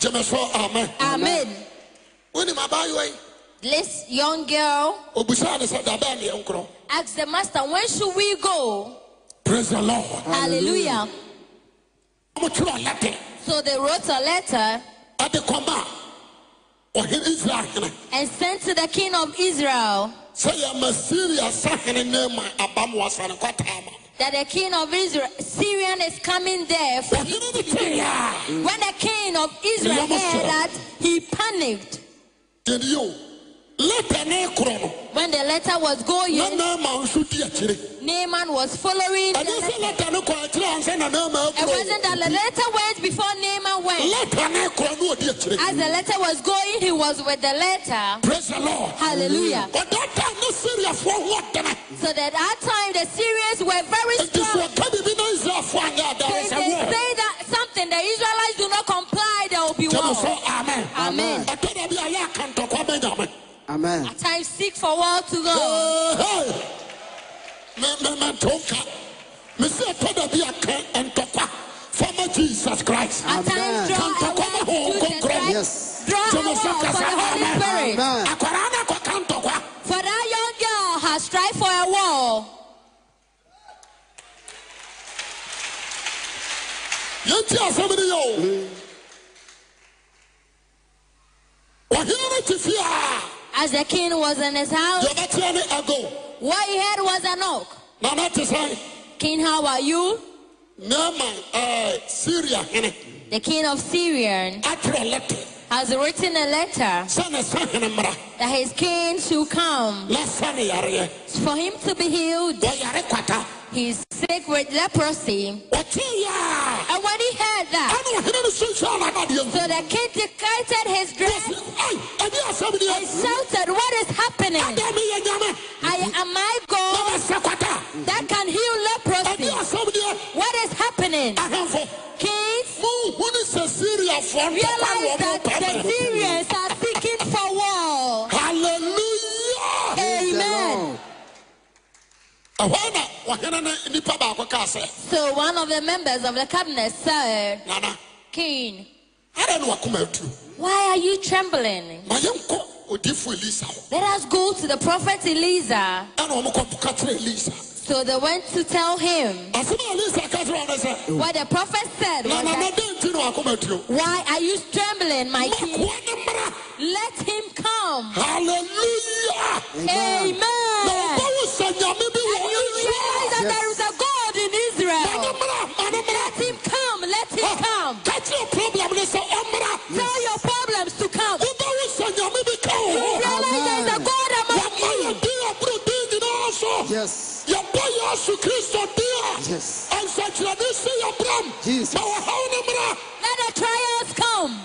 S1: gyeme so amen
S2: Amen.
S1: wonim abaayewa yi
S2: This young girl
S1: obisaa ne sɛ dabɛɛ neɛ nkorɔ
S2: asked the master, When should we go?
S1: praise the lord
S2: Hallelujah.
S1: ɔmotwerɛ ɔlɛte
S2: So they wrote a letter
S1: ade kɔma a ɔhene israel hene
S2: and sent to the king of Israel
S1: sɛ yɛma siria sahene ne ma aba mo asane kɔtaa ma
S2: that the king of Israel, Syrian, is coming there for him to
S1: Ɔhene no teeɛ a,
S2: When the king of Israel
S1: Meyɛ mo
S2: heard
S1: sɛ-
S2: that, he panicked.
S1: yɛde yɛ o leta ne korɔ no
S2: When the letter was
S1: na
S2: going,
S1: naama nso di akyire
S2: Naaman was following. the
S1: ɛne sɛ
S2: letter.
S1: leta ne kɔ akyire ansa na naama
S2: It wasn't that
S1: akorɔ
S2: the letter went before Naaman went.
S1: leta ne korɔ no ɔdi akyire
S2: As the letter was going, he was with the letter.
S1: praise the lord
S2: Hallelujah.
S1: ɔda ta ne seriafoɔ ho ɔdene
S2: So that at that time the Syrians were very
S1: nti
S2: strong.
S1: sɛ ɔka biribi na israelfoɔ anyɛ
S2: So
S1: adare
S2: if
S1: sɛ
S2: they
S1: wɔ
S2: say that something, the Israelites do not comply, there will be war.
S1: tɛmo sɛ amen
S2: Amen.
S1: ɛtɔ da bi a yɛ akantɔkwa bɛnyame
S3: amen
S2: At times seek for war to go.
S1: mɛmɛto nka mesɛ ɛtɔ da bi aka ntɔkwa fama jesus christ
S2: At times draw
S1: Come to
S2: a
S1: come
S2: war
S1: home,
S2: to
S1: come
S2: Jesus
S1: cry.
S2: Christ.
S3: Yes.
S2: Draw a
S1: Tɛmo
S2: war
S1: sɛ
S2: for
S1: kasa
S2: the Holy
S1: amen
S2: Spirit.
S3: Amen.
S1: akwara no akɔka ntɔkwa
S2: For that young girl has strived for a war.
S1: yɛnti asɛm ne yɛ o ɔhene no te fie a
S2: As the king was in his house,
S1: yɛbɛteɛ ne ago
S2: what he heard was a knock.
S1: na na te sɛn
S2: King, how are you?
S1: neɛma eh, syria hene
S2: The king of Syrian
S1: atrɛ lete
S2: has written a letter
S1: sɛ ne sa hene mmara
S2: that his king should come
S1: na sa ne yareɛ
S2: for him to be healed.
S1: wɔyare eh. kwata
S2: He's sick with leprosy.
S1: ɔtee yɛ
S2: And when he heard
S1: a
S2: that,
S1: ɛne ɔhene no sunsuan anadeɛ
S2: so the king decreased his dress
S1: ɛne asɛm
S2: and
S1: deɛ
S2: shouted, What is happening?
S1: ada meyɛ nyame
S2: I am I
S1: na
S2: God
S1: masɛ kwata
S2: that can
S1: ɛne
S2: heal leprosy.
S1: asɛm deɛ
S2: What is happening?
S1: ahemfo
S2: Kings
S1: mohunu sɛ siriafoɔ ntɔkwa wɔ
S2: realize
S1: mo
S2: that the
S1: pam
S2: Syrians are seeking for war.
S1: halleluya
S3: Praise the
S2: Amen.
S3: Lord.
S1: ɛhɔ na ɔhene ne nnipa baako kaa sɛ
S2: So one of the members of the cabinet said,
S1: nana
S2: King,
S1: ada ne wakoma aturo
S2: why are you trembling?
S1: ma yɛnkɔ odifo elisa hɔ
S2: Let us go to the prophet Elisa.
S1: ɛna ɔmokɔpoka kyerɛ elisa
S2: So they went to tell him
S1: asɛm a elisa ka kyerɛ ɔne sɛ
S2: what the prophet said. Was
S1: nana na
S2: that,
S1: dɛn nti ne wakoma aturo
S2: why are you trembling, my king?
S1: makoa ne mmra
S2: Let him come.
S1: halleluya
S2: Amen.
S1: na ɔbɛwo sɛ nyame bi
S2: And
S1: wɔ
S2: you realize that
S1: israel
S2: there is a God in
S1: ma ne
S2: Israel.
S1: mmra ma ne
S2: Let
S1: mmra
S2: him come. Let him come.
S1: ka kyerɛ problem ne sɛ ɔmmra
S2: Tell your problems to come.
S1: wobɛwo sɛ nyame bi ka
S2: You
S1: wo ho
S2: realize there is a God among
S1: wàmú
S2: you.
S1: yẹ di àbúrò di nyinaa sọ.
S3: yes
S1: yẹ bọ yasu kristo di a.
S3: Yes.
S1: ẹnsẹ̀kyerẹ́ni sí yẹ bram.
S3: Jesus.
S1: na wà hàn ní mìíràn.
S2: Let the trials come.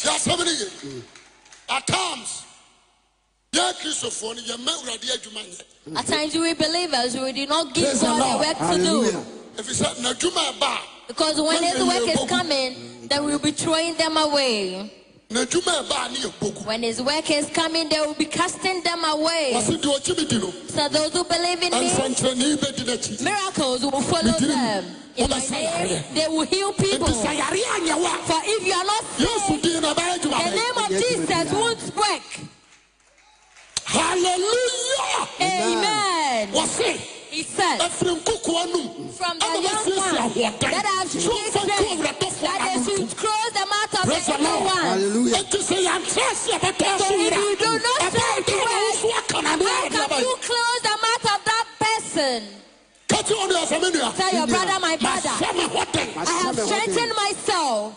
S1: tí a sẹ́mi ni yẹ. at times yẹ kristofo ni yẹ mẹ́wùrẹ́ di ẹ̀dwuma yẹ.
S2: At times we believers we do not give
S1: Praise the
S2: God the
S1: Lord.
S2: work to do.
S3: hallelujah
S1: efisɛ n'adwuma ẹ̀ bá
S2: Because when his work is coming, then we'll be throwing them away.
S1: n'adwuma ẹ̀ bá ni yẹ gbogbo.
S2: When his work is coming, they will be casting them
S1: wà
S2: away.
S1: sí di ojú mi di no.
S2: So those who believe in me,
S1: ẹnsẹ̀kyerẹ́ni bẹ di n'akyi.
S2: miracles will follow them. In my name, they will heal people.
S1: nti sẹ
S2: For
S1: yàrá yà nyẹ wa.
S2: if you are not
S1: yasu
S2: saved,
S1: di na bá yẹ ẹdwuma
S2: the
S1: yẹ.
S2: name of Jesus won't work.
S1: hallelujah.
S2: Amen.
S1: wà sí.
S2: He said.
S1: ɛfiri nkokoa nom
S2: from the
S1: ɛna
S2: young
S1: wasiesie
S2: one
S1: ahoɔden
S2: that have
S1: so mfa nka
S2: created
S1: owuratɔfoɔ
S2: that they
S1: ano
S2: should close the mouth of
S1: Praise the
S2: the evil
S1: Lord.
S2: one.
S3: hallelujah
S1: nti sɛ yɛnkyɛ aseɛ bɛtɔ
S2: So
S1: so
S2: if
S1: wura
S2: you do not try to
S1: ɛbɛda na wo
S2: work,
S1: so aka na
S2: How
S1: meɛ
S2: can you
S1: adeɛba
S2: close the mouth of that person?
S1: ka kye ɔne asɛ me nua
S2: Tell your brother, my brother,
S1: mahyɛ me hɔ den
S2: I have strengthened myself.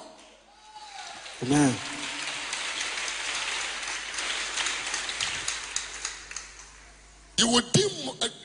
S3: amen
S1: yɛwɔ din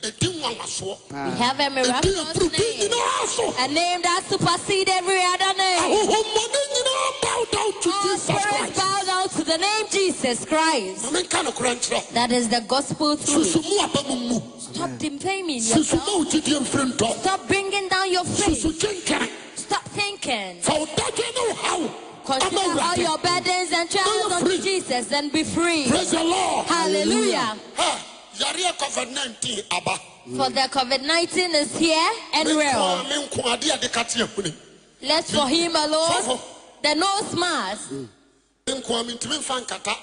S1: ɛdi nwanwasoɔ
S2: We have a
S1: ɛdi
S2: miraculous
S1: apurubi
S2: name,
S1: nyinaa so
S2: a name that supersedes every other name.
S1: ahohommɔne nyinaa bow down to
S2: All
S1: jesus
S2: spirits
S1: christ
S2: bow down to the name Jesus Christ.
S1: na menka nokorɛ nkyerɛ
S2: That is the gospel truth.
S1: susumu aba mu mu
S2: Stop defaming
S1: susuma
S2: yourself.
S1: wo gyidie mfiri ntɔ
S2: Stop bringing down your faith.
S1: susu kyenkere
S2: Stop thinking.
S1: fa wo dadwe ne wo haw ama
S2: Consider all
S1: wurade
S2: your burdens and trials
S1: Be
S2: unto
S1: free.
S2: Jesus and be free.
S1: Praise the Lord.
S2: Hallelujah.
S1: Ha, yare COVID 19 aba.
S2: For the COVID 19 is here and real.
S1: Me nko ade ade ka te ahuni.
S2: Let for him alone.
S1: Fofo.
S2: The nose mask,
S1: Me nko me ntimi mfa nkata.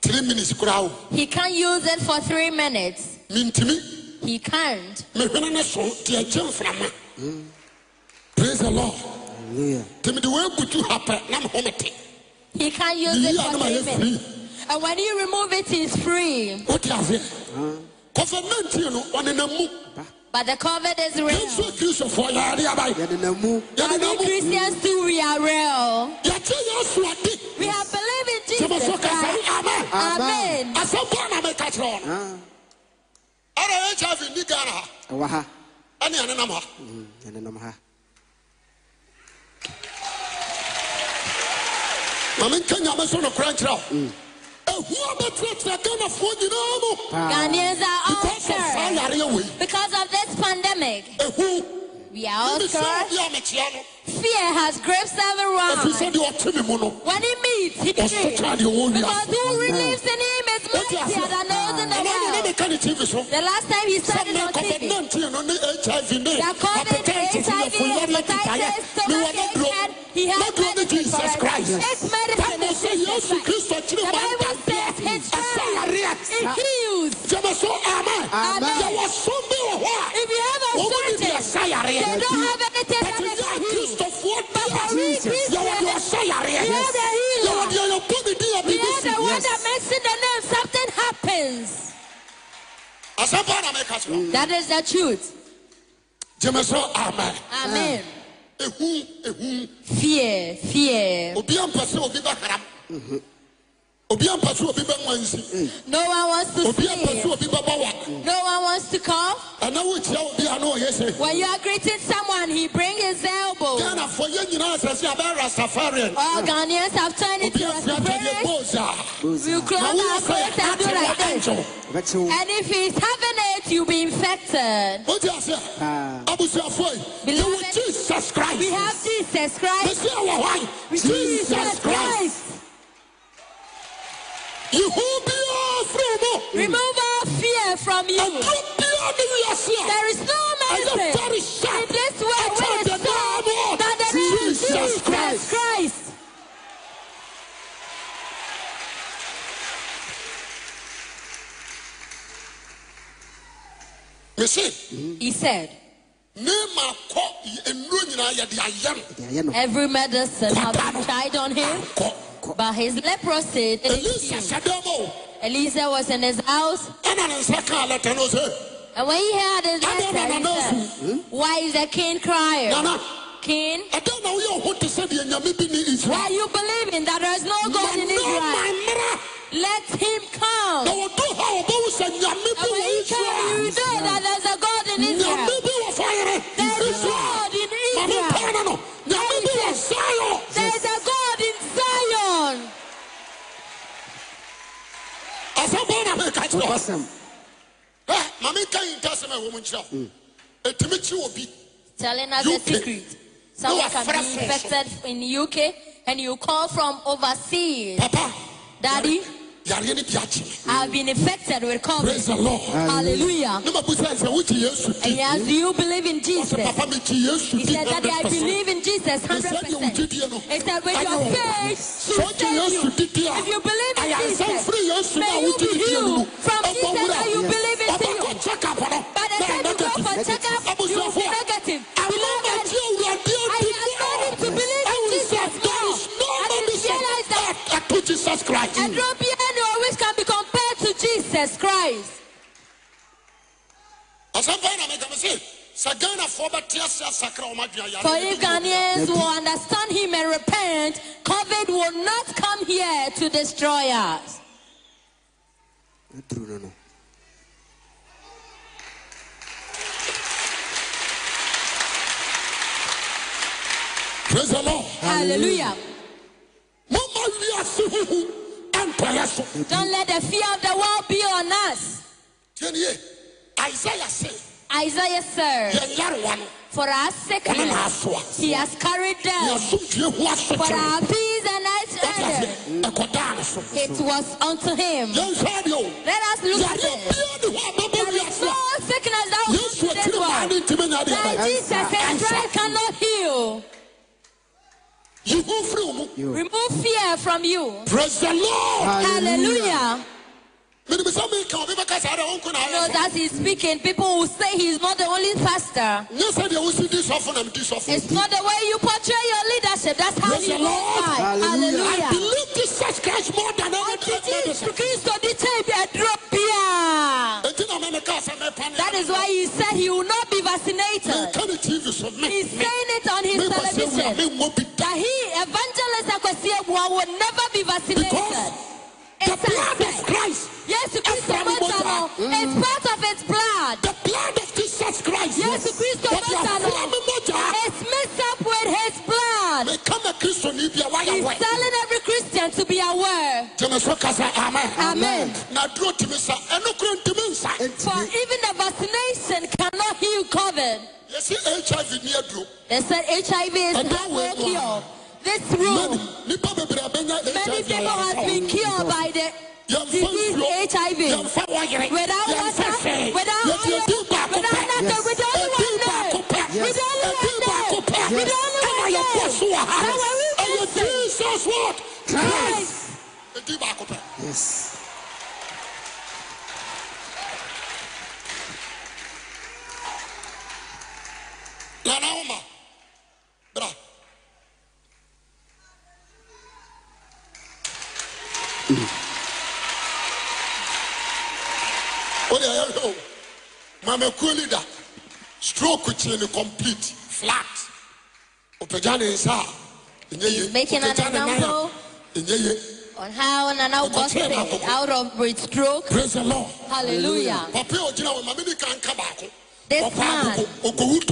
S1: 3 minutes kura o.
S2: he can't use it for three minutes.
S1: Me ntimi
S2: He can't.
S1: me hwene ne so te agye mframa. Praise the Lord.
S3: hallelujah
S1: Timi de we butu hapɛ na me homete.
S2: He can't use
S1: Yi
S2: it
S1: ane
S2: for
S1: ma
S2: three
S1: yɛ
S2: minutes.
S1: free.
S2: And when you remove it, he's free.
S1: What you have here? covid 19 no ɔnenam mu
S2: But the COVID is real.
S1: yesu kristofoɔ yɛade abae
S3: yɛnenamu
S2: But we
S1: yɛnenam mu
S2: Christians too, we are real.
S1: yɛte yɛaso ade
S2: We have believed in
S1: sɛ
S2: Jesus
S1: mɛso ka
S2: Christ.
S1: sɛ amen
S2: Amen.
S1: asɛm bɔ na meka kyerɛ ɔ no ɛna hiv ni ghana ha
S3: ɛwɔ ha
S1: ɛne ɛnenam ha
S3: Mm, yɛnenam ha
S1: ma menka nyame so nokora nkyerɛ wo ɛhu abɛtrɛtrɛ ghanafoɔ nyinaa mu
S2: Ghanaians are all
S1: because of saa
S2: cursed.
S1: yareɛ wei
S2: Because of this pandemic,
S1: ɛhu
S2: we are all
S1: Ebi sɛ
S2: cursed.
S1: obi a mekyea no
S2: Fear has grips
S1: ɛfiri
S2: everyone.
S1: sɛ deɛ ɔte me mu no
S2: When he meets, he
S1: ɔso
S2: begins.
S1: kra deɛ ɔwɔ
S2: Because
S1: wiase
S2: who relieves in him is mightier than those in the
S1: ɛna ne ne
S2: world.
S1: meka ne tv so
S2: The last time he started
S1: sɛmɛ
S2: on
S1: covid
S2: TV,
S1: 19 no ne hiv ne
S2: That COVID,
S1: hepatitis ne
S2: HIV,
S1: afoyare atitaeɛ
S2: hepatitis,
S1: ne wɔ ne
S2: stomach
S1: duro
S2: ache, and he
S1: ne
S2: has
S1: duro ne
S2: medicine for
S1: jesus
S2: it.
S1: christ
S2: It's medicine
S1: Bible
S2: for
S1: sɛ
S2: Jesus
S1: yesu
S2: Christ.
S1: kristo kyerɛ
S2: the Bible says
S1: wɔntadeɛ
S2: his
S1: ɛsɛ yareɛ
S2: it heals. Ah.
S1: gyama so amen
S3: Amen.
S1: yɛwɔ som bi wɔ hɔ a
S2: If you have a
S1: wɔn mu de
S2: certain,
S1: deɛ ɛsɛ yareɛ
S2: they don't have anything that
S1: But
S2: makes
S1: yɛ
S2: you heal.
S1: kristofoɔ
S2: But we Christians,
S1: bi a yɛwɔ deɛ ɔsɛ yareɛ
S2: we are the healer.
S1: yɛwɔ deɛ yɛbɔ ne din a
S2: We
S1: biribi
S2: are
S1: si
S2: the one
S3: Yes.
S2: that makes in the name something happens.
S1: asɛmpa na mɛka kyerɛ wo.
S2: That is the truth.
S1: gyama so amen
S2: Amen.
S1: Ah. ehu ehu
S2: Fear, fear.
S1: obi ampɛ sɛ obi bɛharam obi ampɛ sɛ obi bɛma nsi
S2: No one wants to
S1: obi ampɛ sɛ
S2: sleep.
S1: obi bɛbɔ wa
S2: No one wants to cough.
S1: ɛna wokyia obi a na ɔyɛ sɛ
S2: When you are greeting someone, he brings his elbow.
S1: ghanafoɔ yɛ nyinaa sɛ sɛ abɛ rastafarian
S2: All Ghanaians have turned
S1: obi
S2: into
S1: afiri atadeɛ
S2: a
S1: bose a
S2: We
S3: Bosa.
S2: close
S1: na
S2: our
S1: woyɛ
S2: clothes
S1: sɛ
S2: and do
S1: atewa
S2: like this.
S1: angel
S3: Wobɛkyew.
S2: And if he's having it, you'll be infected.
S1: wogye ase
S3: Ah.
S1: abusuafoɔ yi
S2: Beloved,
S1: yɛwɔ
S2: We
S1: jesus christ
S2: have Jesus Christ.
S1: mesia wɔ hɔ yi jesus christ yehu biara firi wo mu
S2: Remove all fear from you.
S1: aduro biara ne wiase a
S2: There is no
S1: ɛyɛ very
S2: medicine
S1: sharp
S2: in this world
S1: ɛkyɛ
S2: where
S1: the
S2: it's
S1: name of
S2: called that the name of
S1: Jesus
S2: Jesus
S1: Christ.
S2: Christ.
S1: mese
S2: He said,
S1: ne maakɔ y- nnuro nyinaa yɛde ayɛ no
S3: Deɛ yɛ no
S2: Every medicine have been tried on him,
S1: kɔ
S2: but his leprosy didn't
S1: elisa
S2: heal.
S1: hyɛdɛ ma o
S2: Elisa was in his house,
S1: ɛna ne nsa kaa lɛtɛ no sɛ
S2: and when he heard his letter, he said,
S1: Hmm?
S2: Why is the king crying?
S1: nana
S2: King,
S1: ɛdɛn na woyɛ ɔho te sɛ deɛ nyame bi ne
S2: why
S1: israel
S2: you believing that there is no God in Israel?
S1: mmara
S2: Let him
S1: na
S2: come.
S1: wɔdu ha wɔbɛwo sɛ nyame bi
S2: And when
S1: wɔ
S2: he came, you
S1: israel
S2: know that there's a God in Israel.
S1: nyame bi wɔ
S2: There
S1: fayerɛ
S2: is a
S1: israel
S2: God in
S1: mame
S2: Israel.
S1: paa no no nyame bi wɔ sion
S2: There is a God in Zion.
S1: asɛmpa na meka kyerɛ hɔ
S3: wokɔsɛm
S1: Ɛ, ma menka yintasɛm a ɛwɔ mu nkyerɛ wo ɛtumi kyi obi
S2: Telling us
S1: UK.
S2: the secret. Someone can be infected in UK and you call from overseas.
S1: papa
S2: Daddy,
S1: yareɛ no bi akye
S2: I've been infected with
S1: praise
S2: COVID.
S1: the
S2: Ah.
S1: lord
S2: Hallelujah.
S1: ne mabusa sɛ wogye yesu
S2: And
S1: di
S2: he asked, Do you believe in
S1: sɛ
S2: Jesus?
S1: papa megye yesu
S2: He
S1: di
S2: said, Daddy, I
S1: 100%.
S2: believe in Jesus
S1: Me sɛ deɛ
S2: 100%.
S1: wogye die no
S2: He said, With your
S1: ɛnyɛ wo.
S2: faith,
S1: sɛ
S2: to
S1: wogye
S2: save you.
S1: yesu di di a
S2: If you believe in
S1: ayaresɛm
S2: Jesus,
S1: firi yesu no
S2: may
S1: a
S2: you
S1: wogye
S2: be
S1: ne die no mu
S2: healed from
S1: ɛbɔ
S2: Jesus
S1: wura
S2: that you believe into you.
S1: ɔbɛkɔ check up no
S2: By the
S1: na
S2: time you go
S1: ɛnɛgative
S2: for checkup, you will be
S1: abusuafoɔ
S2: negative.
S1: Mm.
S2: Beloved,
S1: awomagye awurade
S2: I
S1: adi
S2: am learning to believe
S1: I
S2: in
S1: will say
S2: Jesus
S1: there
S2: more.
S1: is no
S2: I didn't
S1: medicine
S2: realize that
S1: that to Jesus Christ.
S2: and Robiano always can be compared to Jesus Christ.
S1: Asɛmpa na meka me se sɛ Ghanafoɔ bɛte ase asakra wɔn adwene ayare.
S2: For if Ghanaians will understand him and repent, COVID will not come here to destroy us.
S3: aduru no no
S1: Praise the Lord.
S2: Hallelujah.
S1: Momma wiase huhu ɛntɔyɛ so.
S2: Don't let the fear of the world be on us.
S1: Tie ne ye. Isaiah se
S2: Isaiah said,
S1: yɛn yarewa no
S2: For our
S1: ɔno na
S2: sickness,
S1: aso a.
S2: he has carried
S1: Yɛn
S2: them.
S1: asomdwoe
S2: For
S1: ho asokyerɛ.
S2: our peace and
S1: Wɔte
S2: our strength,
S1: ase ɛkɔdaa ne so.
S2: it was unto him.
S1: Yɛnhwɛ adeɛ o.
S2: Let us look at
S1: Yareɛ
S2: it.
S1: biara nni hɔ a ɛbɛba
S2: There is
S1: wiase
S2: no
S1: a
S2: sickness that will
S1: Yesu
S2: come to
S1: akyiri
S2: this
S1: maa ne
S2: world.
S1: ntimi nyɛ adeɛ
S2: That
S1: ɛbɛyɛ.
S2: Jesus and Christ cannot heal.
S1: Yi ho firi wo mu.
S2: Remove fear from you.
S1: Praise the Lord.
S2: Hallelujah.
S1: Menimisa meka obi bɛka saa dɛ ɔnko na
S2: I know
S1: ayɛ so.
S2: that he's speaking. People will say he's not the only pastor.
S1: nyɛ sɛdeɛ wosi di sɔfo na medi sɔfo
S2: It's not the way you portray your leadership. That's how
S1: Praise
S2: you
S1: the Lord.
S2: live.
S3: Hallelujah.
S1: I
S2: Hallelujah.
S1: believe Jesus Christ more than any
S2: Unto
S1: other
S2: Jesus
S1: medicine.
S2: Christ, the type that drop here.
S1: Enti na mɛmeka
S2: television.
S1: meka ne tv so me
S2: He's saying it on his
S1: mebasɛ wura
S2: television
S1: memmɔ bi da
S2: that he, evangelist Akwasiebua, will never be vaccinated.
S1: Because the
S2: It's
S1: blood of Mm.
S2: a
S1: christ
S2: Yes, Kristo
S1: Abraham
S2: Motano, it's part of its blood.
S1: the blood of jesus christ
S2: Yes, Kristo
S1: wɔde
S2: Motano,
S1: afoa me mogyaa
S2: it's mixed up with his blood.
S1: meka ma kristoni bia
S2: He's
S1: wayɛ wɛ
S2: telling every Christian to be aware.
S1: gyeme so ka sɛ amen
S2: Amen.
S1: na duro tumi sa ɛno koro ntumi nsa
S2: For even the vaccination cannot heal COVID.
S1: yɛsi hiv ne aduro
S2: They said HIV is
S1: And that
S2: halfway
S1: will-
S2: cure. This room,
S1: Many- nipa bebree abɛnya
S2: many
S1: hiv
S2: people has been cured by the disease HIV.
S1: yɛmfa wɔyere
S2: Without
S1: yɛmfa
S2: water,
S1: hwee
S2: without
S1: yɛde
S2: oil,
S1: adi baako
S2: without
S1: pɛ
S2: nothing,
S3: Yes.
S2: with only
S1: Adi
S2: one name.
S1: baako pɛ
S2: With only one name.
S1: adi baako pɛ
S2: With
S1: ɛna
S2: only
S1: yɛkɔ
S2: one
S1: so wɔ
S2: name.
S1: ha
S2: Now when we
S1: ɛyɛ
S2: listen,
S1: jesus word
S3: Christ.
S1: adi baako pɛ
S3: Yes.
S1: nana woma bra wode ɛyɛhwɛ o mamakuo ni da stroke kyee ne complete flat ɔpagya ne nsa a ɛnyɛ ye
S2: He's making an
S1: Ɔpagya ne nan a,
S2: example.
S1: ɛnyɛ ye
S2: on how Nana
S1: But
S2: got
S1: the chairman-
S2: saved out of breath stroke.
S1: praise the lord
S2: Hallelujah.
S1: papa a ogyina wɔ mame ne ka nka baako
S2: This
S1: ɔkɔ
S2: man.
S1: agogo ɔkɔwu tɔɔ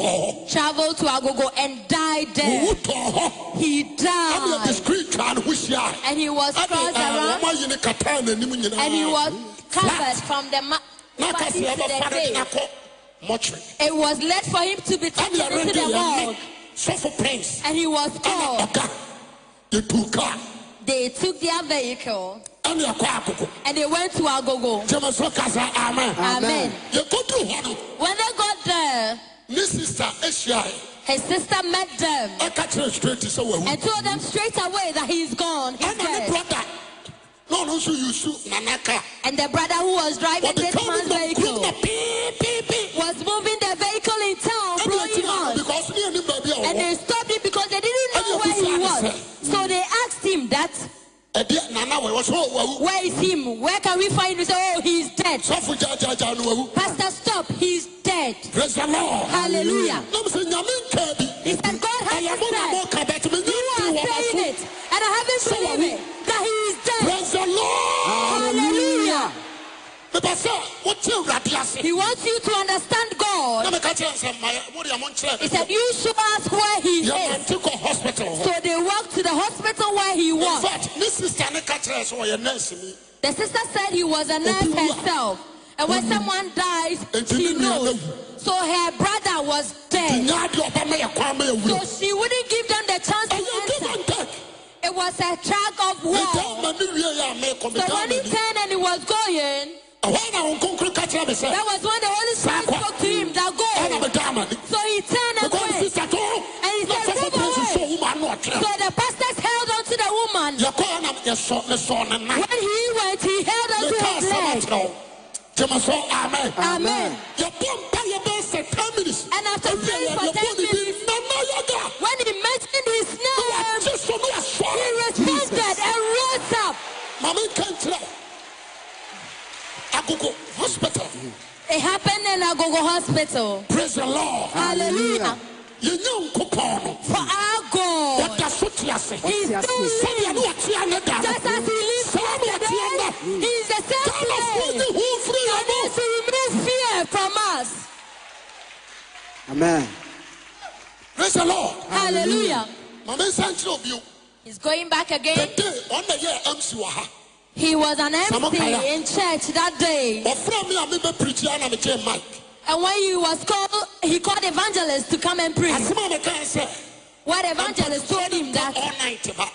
S1: hɔ
S2: Traveled to Agogo and died
S1: ɔwu
S2: there.
S1: tɔɔ hɔ
S2: He
S1: ɛne
S2: died.
S1: ɛde screen twaa ne ho hyiaa
S2: And he was
S1: uh,
S2: crossed around.
S1: wɔma yi ne kataa n'anim
S2: And he
S1: nyinaa
S2: was covered from the ma-
S1: na
S2: body to
S1: kasi
S2: the
S1: ɛbɛfa ne
S2: face.
S1: nakɔ mɔtwere
S2: It was led for him to be
S1: ɛne
S2: taken into
S1: ɛrede
S2: the
S1: yɛne
S2: world.
S1: sɔfo prince
S2: And he was
S1: ɛna
S2: called.
S1: ɔka yɛtu kaa
S2: They took their vehicle
S1: ɛne ɛkɔ akoko
S2: and they went to Agogo.
S1: gyama so kasa amen
S2: Amen.
S1: yɛkɔduru hɔ no
S2: When they got there,
S1: ne sister ahyiae
S2: his sister met them
S1: ɛka kyerɛ straight sɛ wawu
S2: and told them straight away that he's gone. He's
S1: ɛna ne
S2: dead.
S1: brɔda na ɔno nso yusu nanaka
S2: And the brother who was driving
S1: wɔde
S2: this
S1: kaa
S2: man's
S1: no nam kurom
S2: vehicle
S1: na piipiipi
S2: was moving the vehicle in town,
S1: ɛne
S2: blowing
S1: akyina no
S2: horn.
S1: because ne anim baabi a
S2: And
S1: ɔwɔ
S2: they stopped him because they didn't know
S1: And
S2: where
S1: you
S2: he
S1: flag
S2: was. So they asked him that,
S1: ɛdeɛ nana wɔwɔ so wawu
S2: where is him? Where can we find him? He said, oh, he's dead.
S1: sɔfo gyaagyaagyaa no wawu
S2: Pastor, stop. He's dead.
S1: praise the lord
S2: Hallelujah.
S1: nam sɛ nyame nkaa bi
S2: He said, God
S1: ɛyɛ
S2: has
S1: mo na
S2: said,
S1: moka but menyɛ
S2: you
S1: mfiri
S2: are
S1: wɔ ma
S2: saying
S1: so
S2: it. And I haven't believed it, that he is dead.
S1: praise the lord
S2: Hallelujah.
S1: mepɛ sɛ wote awurade ase
S2: He wants you to understand
S1: na
S2: God.
S1: meka kyerɛ sɛ mayɛ wode mo nkyerɛ
S2: He said, you should ask where he is.
S1: yɛmante kɔ hospital
S2: So
S1: hɔ
S2: they walked to the hospital where he was.
S1: infact ne sister ne ka kyerɛɛ sɛ ɔyɛ nurseni
S2: The sister said he was a nurse
S1: Obiwa.
S2: herself. And when someone dies,
S1: And she
S2: she
S1: didn't know.
S2: knows. So her brother was dead.
S1: nyaa de ɔba ma yɛ kwan ma
S2: So
S1: yɛwuro
S2: she wouldn't give them the chance to
S1: ɛyɛ give
S2: answer.
S1: and take
S2: It was a track of
S1: medaa
S2: war.
S1: ma ne wie yɛ a meekɔ
S2: So
S1: medaa
S2: when he
S1: mani
S2: turned and he was going,
S1: ɛhɔ na wo nkonkro ka kyerɛ me sɛ
S2: that was when the Holy Spirit
S1: Sakwa.
S2: spoke to him, that go.
S1: ɛna medaa mani
S2: So he turned and
S1: because
S2: went.
S1: sister to
S2: he said,
S1: na sɔfo
S2: "Never
S1: prince
S2: mind."
S1: so wo ma no ɔtwerɛ
S2: So the pastors held on to the woman.
S1: yɛkɔɔ na yɛsɔ ne sɔɔ ne nan
S2: When he went, he held on to
S1: meka
S2: his
S1: asɛm
S2: leg.
S1: akyerɛ wo gyema so amen
S2: Amen.
S1: yɛbɔ mpa yɛbɛyɛ sɛ 10 minutes
S2: And after
S1: Ɛwie
S2: praying
S1: yɛ,
S2: for
S1: yɛbɔ
S2: 10
S1: ne din,
S2: minutes, Um,
S1: nana yɛda
S2: When he mentioned his
S1: na
S2: name,
S1: wɔagye so na
S2: He
S1: wɔasɔre
S2: responded and rose up.
S1: ma menka nkyerɛ wo agogo hospital
S2: It happened in Agogo Hospital.
S1: praise the lord
S2: Hallelujah.
S1: yɛnya nkopɔn no
S2: For our God.
S1: wɔda so te ase
S2: He's still
S1: sɛdeɛ ne
S2: living.
S1: wɔtea ne da
S2: Just as he lives
S1: saa ne wɔtea
S2: today,
S1: nda
S2: he's the
S1: ghanafoɔ
S2: same
S1: ne
S2: today.
S1: ho mfiri
S2: You
S1: yɛ mo
S2: need to remove fear from us.
S3: Amen.
S1: praise the lord
S2: Hallelujah.
S1: ma mensa nkyerɛ wo bio
S2: He's going back
S1: the
S2: again.
S1: day ɔna yɛ MC wɔ ha
S2: He was an
S1: Samo
S2: MC
S1: kaya.
S2: in church that day.
S1: ɔfrɛ me a mebɛpirikyi ana mekyɛ mic
S2: And when he was called, he called evangelist to come and preach.
S1: asɛm a mekae sɛ
S2: What evangelist told him that
S1: all night ba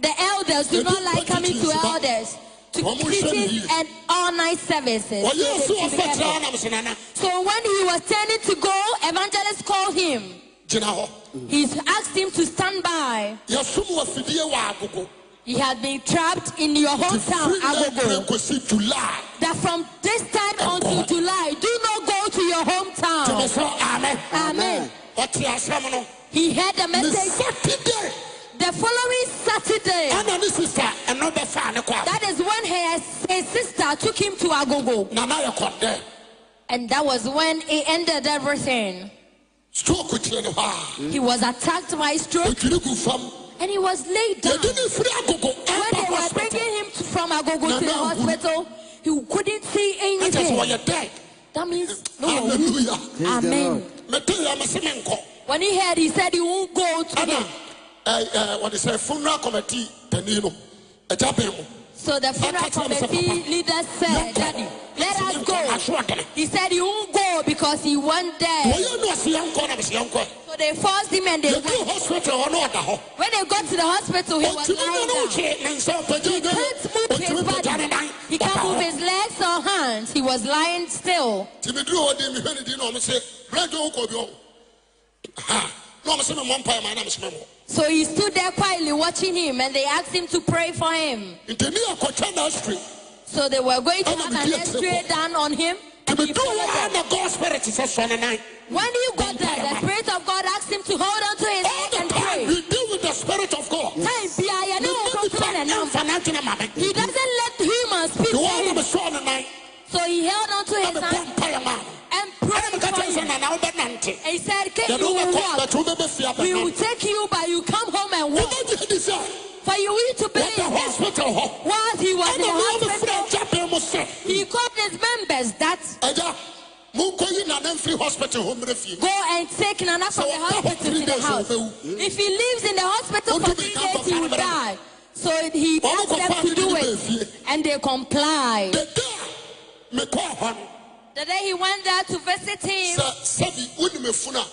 S2: The elders do not like coming to elders to preaching and all night services.
S1: ɔyɛ so
S2: So they should be
S1: ɔfɛ kyerɛ
S2: careful.
S1: anam sena na
S2: So when he was turning to go, evangelist called him.
S1: gyina hɔ
S2: He asked him to stand by.
S1: yɛsom wɔ afidie wɔ agogo
S2: He had been trapped in your hometown,
S1: April
S2: Agogo.
S1: kɔsi july
S2: That from this time until July, do not go to your
S1: gyeme
S2: hometown.
S1: sɛ amen
S2: Amen.
S1: ɔte asɛm no
S2: He heard the
S1: ne
S2: message
S1: saturday
S2: the following Saturday.
S1: ɛna ne sister ɛno bɛfaa ne kɔ
S2: That is when his, his sister took him to Agogo.
S1: nana yɛ kɔndɛ
S2: And that was when he ended everything.
S1: stroke kyerɛ no hɔ
S2: He was attacked by
S1: a
S2: stroke
S1: ɔdwiri gu fam
S2: and he was laid down.
S1: yɛde ne firi agogo
S2: When they were
S1: ɛbakɔ
S2: bringing him to- from Agogo to the
S1: Nana Agogo.
S2: hospital, he couldn't see
S1: ɛkyɛ sɛ
S2: anything.
S1: wɔyɛ dead
S2: That means no.
S1: halleluya
S3: Praise the
S2: Amen.
S3: Lord.
S1: metee a mese menkɔ
S2: When he heard, he said he won't go to
S1: ɛna
S2: him.
S1: ɛɛ, ɛɛ, wɔde sɛ funeral committee panin no agya bɛn mo
S2: So the funeral
S1: Papa told him,
S2: committee
S1: "Papa,
S2: leader
S1: no
S2: said, Daddy, let
S1: Yes,
S2: us
S1: you
S2: go.
S1: can. Assuredly.
S2: He said he won't go because he won't die.
S1: wɔyɛ ne ɔse yɛnkɔ na mese yɛnkɔ
S2: So they forced him and they
S1: yɛduu hospital hɔ na ɔda hɔ
S2: when they got to the hospital, he was
S1: ɔtumi ne ne
S2: lying down.
S1: wokye ne nsa ɔpagya
S2: He can't move his
S1: ɔtumi pagya
S2: body.
S1: ne dan
S2: He can't move his legs or hands. He was lying still.
S1: timiduru hɔ den mehwɛ ne din na ɔmo sɛ brɛdwo wokɔ bi ɔwo ha na ɔmo sɛ memmɔ mpaeɛ ma na mesomɛ mɔ
S2: So he stood there quietly watching him and they asked him to pray for him.
S1: nti ne yɛkɔtwa na astri
S2: So they were going to
S1: Ana
S2: have
S1: me
S2: an
S1: die
S2: x-ray
S1: table.
S2: done on him. And he
S1: timiduru hɔ a
S2: followed them.
S1: na god spirit sɛ sɔ ne nan
S2: When he got there, the Spirit of God asked him to hold on to his
S1: all
S2: head
S1: Oh, the
S2: and
S1: time
S2: pray.
S1: we deal with the spirit of god
S2: Time, be I, I know
S1: Mema
S2: come to
S1: nipa
S2: an announcement.
S1: ɛmfa n'adwene ma me
S2: He doesn't let humans speak
S1: nti
S2: to
S1: wɔn na
S2: him.
S1: mesɔ ne nan
S2: So he held on to
S1: na
S2: his
S1: mebɔ
S2: hand
S1: mpaeɛ ma no
S2: and
S1: ɛna
S2: prayed
S1: meka kyerɛ
S2: for
S1: sɛ
S2: him.
S1: nana wobɛnante
S2: And he said, King,
S1: yɛde
S2: you will
S1: wobɛkɔ
S2: walk.
S1: bɛto wobɛbɛfi
S2: We will
S1: abɛnante
S2: take you, but you come home and walk.
S1: wobɛgye di sɛ
S2: For you need to believe
S1: wɔda
S2: that
S1: hospital hɔ
S2: whilst he was in
S1: ɛna
S2: the
S1: wo
S2: hospital,
S1: mefrɛ agya bɛn mu sɛ
S2: he called his members that
S1: agya monkɔyi nana mfiri hospital hɔ mmerɛ fie
S2: go and take Nana from
S1: So,
S2: the hospital to the
S1: three days
S2: house.
S1: ago.
S2: If he lives in the hospital
S1: Don't
S2: for
S1: do me
S2: three
S1: that,
S2: days, he will
S1: Papa.
S2: die. So he
S1: Mama,
S2: asked them
S1: Papa,
S2: to do
S1: you need to
S2: it, and they complied.
S1: the da mekɔɔ hɔ no
S2: The day he went there to visit him,
S1: sɛ sɛbi wonimafu no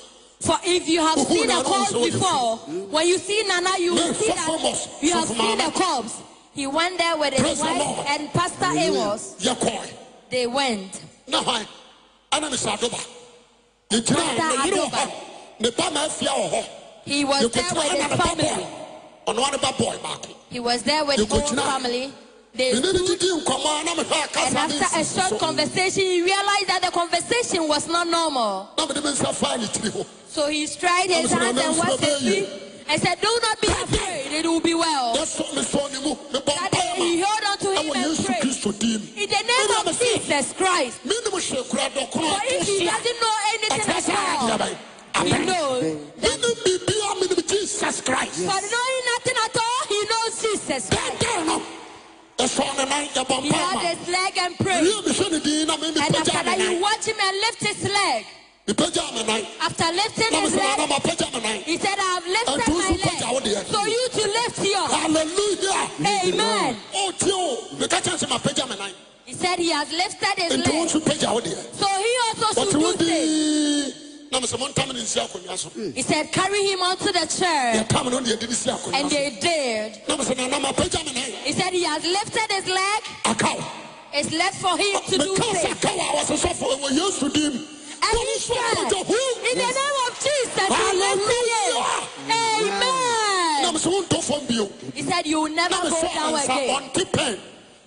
S2: for if you have
S1: Who
S2: seen
S1: now
S2: a corpse
S1: knows what you
S2: before, when you see Nana, you
S1: Yeah,
S2: will see
S1: so
S2: that
S1: famous,
S2: you
S1: so
S2: have seen a
S1: famous.
S2: corpse. He went there with
S1: Praise
S2: his
S1: the Lord.
S2: wife and Pastor Amos.
S1: a yɛkɔe
S2: They went.
S1: na hwan ana mesɛ adoba yɛgyinaa
S2: Pastor
S1: ne yere wɔ
S2: Adoba.
S1: hɔ ne ba ma afia wɔ hɔ
S2: He was there with
S1: Yɛkɔgyina
S2: his
S1: ana ne ba
S2: family.
S1: bɔe ɔnoa ne ba bɔe baako
S2: He was there with
S1: You
S2: his
S1: go
S2: whole
S1: to now.
S2: family. They
S1: mene ne
S2: stood,
S1: didi nkɔmmɔ a na mehwɛ akasa
S2: Eh. and
S1: ne
S2: after a
S1: nsisi
S2: short
S1: so.
S2: conversation, he realized that the conversation was not normal.
S1: na mede me nsa faa ne tiri hɔ
S2: So he stretched his
S1: I'm sorry,
S2: hands
S1: I'm
S2: and
S1: sorry,
S2: washed his
S1: I'm sorry.
S2: feet and said, Do not be afraid, it will be well.
S1: yɛsɔ mesɔ ne mu mebɔ
S2: That day
S1: mpae
S2: he
S1: ma
S2: held on to
S1: ɛwɔ
S2: him and
S1: yesu
S2: prayed.
S1: kristo din mu
S2: In the name of Jesus Christ.
S1: menem hwɛ kura dɔkono
S2: For if he doesn't know anything
S1: ɛkyerɛ sɛ
S2: at all,
S1: ayɛdeɛ
S2: he
S1: bɛn
S2: knows.
S1: menem biribia menem jesus christ
S2: For knowing nothing at all, he knows Jesus Christ.
S1: dɛndɛn no ɛsɔ ne nan yɛbɔ
S2: He
S1: mpae ma
S2: held his leg and prayed.
S1: wie mehwɛ ne din na me
S2: And after
S1: mepagyaa
S2: that,
S1: me
S2: you
S1: nan
S2: watch him and lift his leg.
S1: mepagyaa me nan
S2: After lifting
S1: na
S2: his
S1: mesɛ
S2: leg,
S1: maana mapagya me nan
S2: He said, I've
S1: And
S2: lifted
S1: those who put
S2: my
S1: out their
S2: leg. So you to lift yours.
S1: halleluya
S2: Amen.
S1: ɔtie o meka kyɛn sɛ mapagya me nan
S2: He said he has lifted his
S1: nti wo
S2: leg.
S1: nso pagya wo deɛ
S2: So he also
S1: wɔte
S2: should
S1: wo
S2: do Hmm. same.
S1: dii na mesɛ montam ne nsi akonnwa so
S2: He said, carry him onto the chair.
S1: yɛtam no ne yɛde ne si akonnwa
S2: And
S1: so
S2: they did.
S1: na mesɛ nana mapagya me nan
S2: He said he has lifted his leg.
S1: akaw
S2: It's left for him
S1: Oh,
S2: to do
S1: meka sɛ
S2: same.
S1: akaw a wɔsesɔfo ɛwɔ e yesu dim
S2: And he
S1: wɔne so
S2: said,
S1: akɔgya
S2: in the
S1: ho
S2: name of Jesus, he lifted it.
S1: halleluya na
S2: Amen.
S1: mesɛ wontɔ fam bio
S2: He said, you will never
S1: na
S2: go
S1: mesɛ
S2: down
S1: ansa
S2: again.
S1: ɔnte pɛn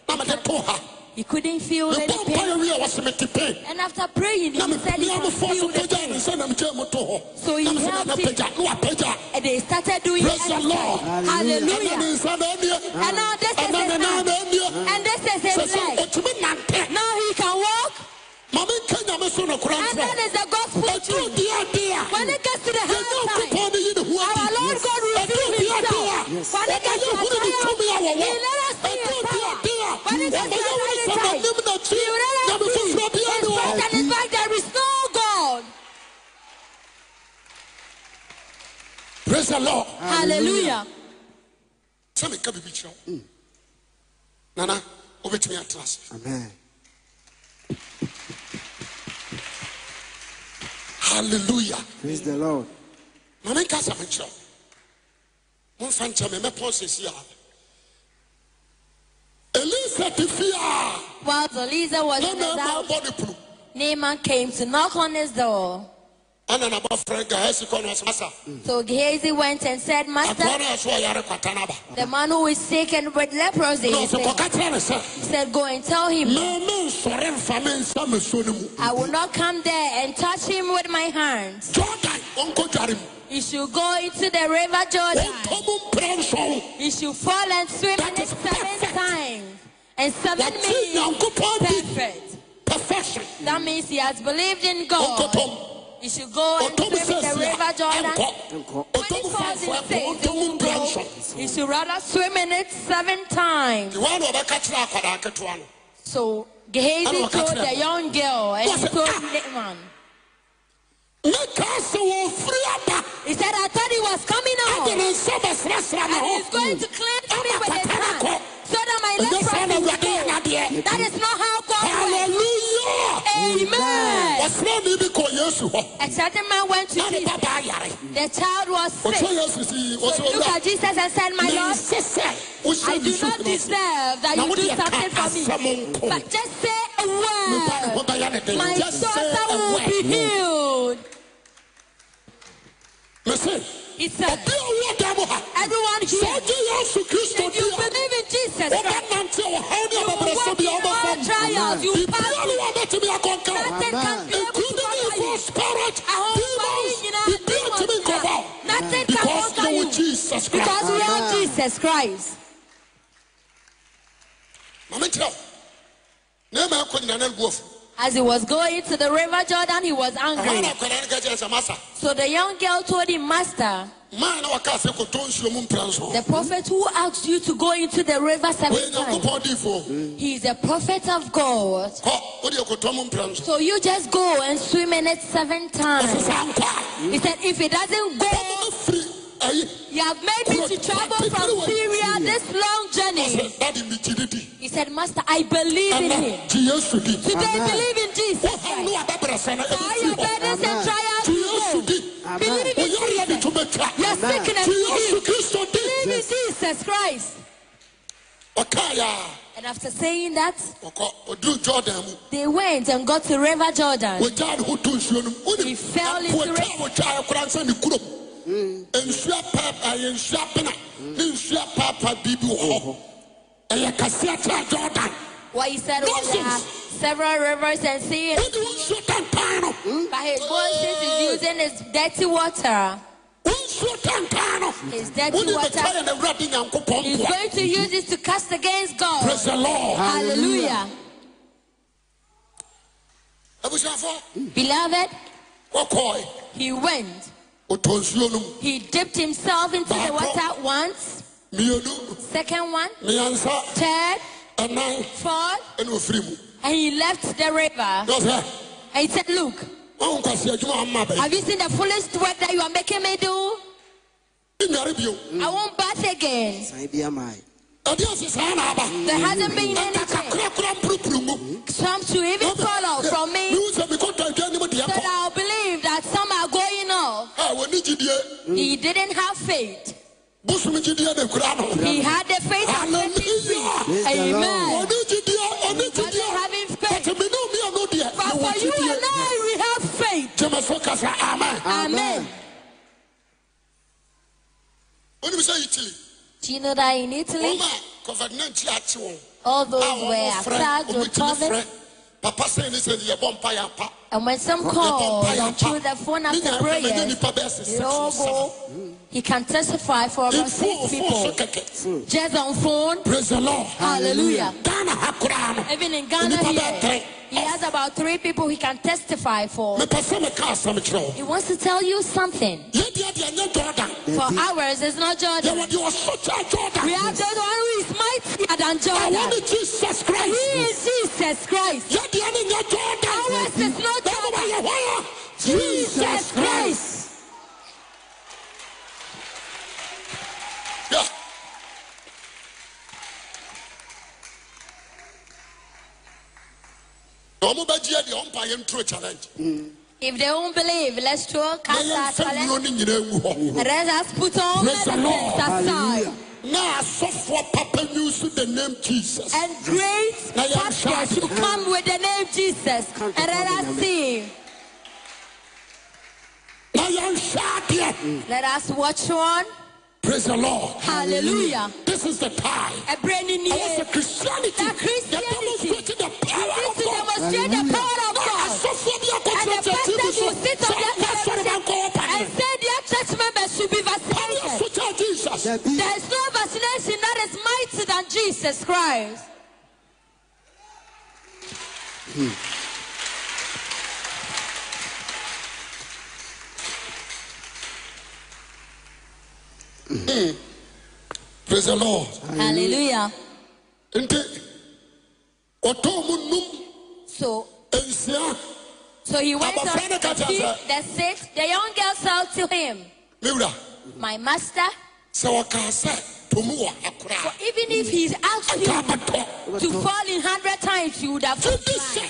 S1: na mede to ha
S2: He couldn't feel any
S1: mebɔ
S2: pain.
S1: mpaeɛ wie a wɔse mete pɛn
S2: And after praying,
S1: na
S2: he said he
S1: mepia
S2: can
S1: mefɔ so
S2: feel the
S1: pagya ne
S2: pain.
S1: nsa nam gyaa mu to
S2: So
S1: hɔ
S2: he
S1: na mesɛ
S2: helped
S1: nana
S2: him.
S1: pagya ne wapagya
S2: And they started doing
S1: Praise the
S2: exercise.
S1: Lord.
S2: Hallelujah.
S1: ɛna ne nsa na anie
S2: And now this is
S1: ɛna ne
S2: his
S1: nan
S2: hand.
S1: na anie
S2: And this is
S1: sɛ
S2: his
S1: sɛ
S2: leg.
S1: ɔtumi nante
S2: Now he can walk.
S1: ma menka nyame so nokora
S2: And that
S1: nsɛ
S2: is the gospel
S1: ɛduro
S2: truth.
S1: deade a
S2: When it gets to the
S1: yɛnyɛ
S2: hand time,
S1: onkopɔn no yi ne ho
S2: our Lord God revealed himself. When it gets to the time, he let us see his power. When it gets to the hand time, he let us see his fact and his fact there is no God.
S1: praise the lord
S2: Hallelujah.
S1: sɛ meka biribi kyerɛ wo nana wobɛtumi atena ase
S3: Amen.
S1: halleluya
S3: Praise the Lord.
S1: na menka sɛ mekyerɛ wo momfa nkyɛ me mɛpɔ sɛsi a elisa te fie a
S2: While Eliezer was
S1: na
S2: in his
S1: mɛma
S2: house,
S1: bɔ ne punu
S2: Naaman came to knock on his door.
S1: ana nabɔfrɛ gahasi kɔ no ɔsmasa
S2: So Gehazi went and said, Master,
S1: akoa no ɛso ɔyare kwata no aba
S2: the man who is taken with leprosy
S1: na
S2: is
S1: ɔsɛ
S2: sick."
S1: kɔka kyerɛ ne sɛ
S2: He said, Go and tell him,
S1: meme nsɔre mfa me nsa masuo no mu
S2: I will not come there and touch him with my hands.
S1: jordan ɔnkɔdware mu
S2: He should go into the river Jordan.
S1: ɔnkɔ mu mprɛ nsɔwo
S2: He should fall and swim in
S1: That
S2: it
S1: is perfect.
S2: seven times. And seven
S1: yɛte
S2: means
S1: nyankopɔn di
S2: perfect.
S1: perfection
S2: That means he has believed in God.
S1: ɔnkɔtɔm
S2: You should go and
S1: ɔtɔm
S2: swim Oh. the
S1: sɛsi
S2: river
S1: a
S2: Jordan.
S1: ɛnkɔ
S3: Ɛnkɔ.
S2: When
S1: ɔtɔm
S2: it falls
S1: fɔfɔ
S2: in
S1: ɛkɔ
S2: faith, it
S1: ɔtɔm
S2: won't
S1: mpura
S2: go.
S1: nsɔ
S2: You should rather swim in it seven times.
S1: iwa na ɔbɛka kyerɛ akwadaa ketewa no
S2: So Gehazi
S1: Ano,
S2: told
S1: Katrina.
S2: the young girl and he
S1: Yes,
S2: told
S1: ah.
S2: Naaman.
S1: meka sɛ wɔfiri aba
S2: He said, I thought he was coming
S1: ade
S2: out.
S1: ne nsa bɛsrasra
S2: And
S1: ne
S2: he's going to cleanse me with his hand. So that my
S1: ɛnyɛ saa na
S2: leprosy will
S1: awurade
S2: go.
S1: nyadeɛ
S2: That is not how God works.
S1: haleluya
S2: Amen.
S1: ɔsrani bi kɔ yesu hɔ
S2: A certain man went to
S1: na ne
S2: Jesus.
S1: babaa yare
S2: The child was
S1: ɔtɔ
S2: sick.
S1: yesu si
S2: So he looked
S1: ɔsrɛ
S2: at Jesus and said, My
S1: wura
S2: Lord,
S1: nse sɛ
S2: I
S1: wohyɛ
S2: do not
S1: ne
S2: deserve
S1: so
S2: that
S1: Now,
S2: you
S1: what
S2: do
S1: do you
S2: something
S1: call
S2: for me.
S1: someone called?
S2: But just say a
S1: Mepa ne ho
S2: word.
S1: bɛyɛ ne den.
S2: My
S1: Just say
S2: daughter
S1: a
S2: will be
S1: word.
S2: healed.
S1: Mese,
S2: He said,
S1: obi a ɔwɔ dan mu ha,
S2: Everyone
S1: sɛ
S2: here,
S1: ɔgye Yesu Kristo
S2: if
S1: di
S2: you
S1: a,
S2: believe in Jesus Christ,
S1: ɔbɛnante wɔ haw ne
S2: you will
S1: ɔbɛbrɛsɛ
S2: walk
S1: bi
S2: in
S1: a
S2: all
S1: ɔbɛfa mu.
S2: trials. You
S1: Biribiara
S2: pass
S1: ne wɔbɛtumi akɔnka wo,
S2: Nothing can be able to
S1: including
S2: conquer
S1: evil
S2: you.
S1: spirit, demons,
S2: Ahomayi nyinaa,
S1: biribiara ntumi
S2: demons
S1: nkɔfa
S2: nyinaa,
S1: wo.
S2: Nothing can
S1: Because
S2: conquer
S1: yɛwɔ
S2: you.
S1: Jesus Christ.
S2: Because we are
S3: Amen.
S2: Jesus Christ.
S1: Ma menkyerɛ wo, na ɛma ɛkɔ nyina na ɛgu afu.
S2: As he was going to the river Jordan, he was
S1: Ɛhɔ na
S2: angry.
S1: akwadaa no ka kyerɛɛ sɛ, "Master,
S2: So the young girl told him, Master,
S1: maa na wɔkaa sɛ kɔtɔ nsuo mu mpra nso."
S2: the prophet who asked you to go into the river
S1: Wei
S2: seven times,
S1: Nyankopɔn diyifoɔ.
S2: he is a prophet of God.
S1: Kɔ, wo deɛ kɔtɔ mu mpra nso.
S2: So you just go and swim in it seven
S1: Ɔse,
S2: times.
S1: "Saa nkɔ a,
S2: He said, If it doesn't go,
S1: Afiri ayi
S2: you have made me to travel from Syria this long journey.
S1: ɔsɛ dade mi gyi ne di
S2: He said, Master, I believe in
S1: ɛnɛ
S2: him.
S1: gyi yesu di
S2: Today,
S3: Amen.
S2: believe in Jesus.
S1: wo ha ne
S2: Christ.
S1: wa bɛbrɛ sɛ no
S2: All your
S1: ɛfiri hɔ
S2: burdens and
S3: Amen.
S2: trials
S1: gyi
S2: will
S1: yesu
S2: go.
S1: di
S3: Amen.
S2: Believe
S1: wo
S2: in Jesus.
S1: yare bi to bɛtwa
S2: Your
S3: Amen.
S2: sickness
S1: gyi
S2: will
S1: yesu
S2: heal.
S1: kristo di
S2: Believe in Jesus Christ.
S1: ɔkaeɛ
S2: And after saying that,
S1: a ɔkɔ ɔduru jordan mu
S2: they went and got to River Jordan.
S1: wɔgyaa ne ho to nsuo no mu
S2: He fell into Mm.
S1: wɔtwa
S2: it.
S1: wɔtwa ɛkora nsa ne kurom nsua paapa ɛyɛ nsua bena
S2: Mm.
S1: ne nsua paapa biribi wɔ hɔ
S2: Mm-hmm.
S1: ɛyɛ kaseɛ kyerɛ jordan
S2: What he said was there are several rivers and seas,
S1: wode wo nsuo tantan no
S2: but his conscience is using his dirty water.
S1: nsuo tantan no
S2: His dirty
S1: wode
S2: water.
S1: bɛkaeɛ na awurade nyankopɔn
S2: He's
S1: nkoa
S2: going to Mm. use this to cast against God.
S1: praise the lord
S2: Hallelujah.
S1: abusuafo
S2: Beloved,
S1: wɔkɔe
S2: he went.
S1: ɔtɔ nsuo no mu
S2: He dipped himself into the water once,
S1: mmienu
S2: second one,
S1: mmiɛnsa
S2: third,
S1: ɛnan
S2: fourth,
S1: ɛne ɔfiri mu
S2: and he left the river.
S1: ne ɔsɛ
S2: And he said, Look,
S1: wawo nkwase adwuma wamma bɛyɛ
S2: have you seen the foolish work that you are making me do?
S1: nnware bio
S2: I won't bath again.
S3: Saa bi ama yi.
S1: ɛde ase saa na aba
S2: There hasn't been
S1: ɛkaka
S2: anything.
S1: korakora mporopuro mu
S2: Some to even fall out from me so
S1: mehu sɛ mekɔtɔ adwa anim deɛ
S2: that
S1: kɔ
S2: I'll believe that some are going off.
S1: a wɔni gyidie
S2: He didn't have faith.
S1: bosom gyidie na kura no
S2: He had the faith of
S1: haleluya
S3: Praise the
S2: Amen.
S3: Lord.
S1: ɔne gyidie ɔne
S2: Wasn't having
S1: gyidie
S2: faith.
S1: bɛte mene omia no deɛ
S2: But
S1: mewɔ
S2: for you and
S1: gyidie
S2: I, we have faith.
S1: gyeme so kasa amen
S2: Amen.
S1: wonim sɛ itili
S2: Do you know that in Italy,
S1: wɔma covid 19 akye wɔn
S2: all
S1: a
S2: those were
S1: wɔmɔ
S2: attacked with COVID?
S1: frɛ papa sɛ ne sɛ yɛbɔ mpa yɛ mpa
S2: And when some
S1: yɛbɔ
S2: call
S1: mpa yɛ
S2: through the phone
S1: mpa ne
S2: after
S1: nyame mɛnyɛ
S2: prayers,
S1: nnipa bɛɛ se
S2: they
S1: six or
S2: all
S1: seven
S2: go. He can testify for about
S1: mfuo
S2: six
S1: mfuo so
S2: people
S1: kɛkɛ
S2: just on phone.
S1: praise the lord
S2: Hallelujah.
S1: ghana ha koraa no
S2: Even in
S1: nnipa
S2: Ghana
S1: bɛɛ
S2: here,
S1: tɛn
S2: he has about three people he can testify for.
S1: mepɛ sɛ meka asɛm kyerɛ wo
S2: He wants to tell you something.
S1: yɛdeɛ deɛ nyɛ jordan
S2: For ours, it's not Jordan.
S1: yɛwɔ deɛ ɔso kyerɛ jordan
S2: We have the one who is mightier than
S1: a
S2: Jordan.
S1: wɔne jesus
S2: He
S1: christ
S2: is Jesus Christ.
S1: yɛdeɛ ne nyɛ
S2: Ours
S1: jordan
S2: is not
S1: bɛma
S2: Jordan.
S1: wɔyɛ hɔ a jesus
S2: Jesus
S1: christ
S2: Christ.
S1: Yeah. na ɔmo bɛgye deɛ ɔmpa yɛ nturo challenge
S2: If they won't believe, let's throw
S1: na
S2: cast our
S1: yɛmfa
S2: challenge.
S1: nnuro no nyinaa ngu hɔ
S2: Let us put all
S1: Praise the
S2: medicines
S1: Lord.
S2: aside
S3: Hallelujah.
S1: na asɔfoɔ papa new so the name jesus
S2: and great
S1: Now you are
S2: factors
S1: shouting.
S2: should come with the name Jesus. And let us see.
S1: na yɛnhwɛ adeɛ
S2: Let us watch on.
S1: praise the lord
S2: Hallelujah.
S1: this is the time
S2: A brand new
S1: ɛwɔ
S2: year.
S1: sɛ christianity
S2: That
S1: yɛ
S2: Christianity
S1: demonstrating the power
S2: is
S1: of
S2: to
S1: god
S2: demonstrate the power of
S1: na
S2: God.
S1: asɔfoɔ bi
S2: And
S1: akɔkyerɛ
S2: the
S1: kyerɛ tv
S2: pastors
S1: so
S2: will sit
S1: sɛ
S2: on their
S1: ɔpɛ sɔre
S2: television
S1: bankɔ
S2: and
S1: ɔpane
S2: say their church members should be
S1: pane
S2: vaccinated.
S1: aso kyerɛ jesus
S3: Dabi.
S2: There is no vaccination that is mighty than Jesus Christ.
S1: praise the lord
S2: Hallelujah.
S1: nti ɔtɔn mu num
S2: So
S1: nsia
S2: so he went
S1: Abba,
S2: up
S1: friend,
S2: to
S1: catch us,
S2: feed
S1: eh?
S2: the six. The young girl said to him,
S1: ne wura
S2: My master,
S1: sɛ ɔkaa sɛ tomu wɔ akora a
S2: even if he's asked
S1: ɛka
S2: you
S1: bɛtɔ
S2: to fall in hundred times, you would have
S1: fiti
S2: replied,
S1: sɛ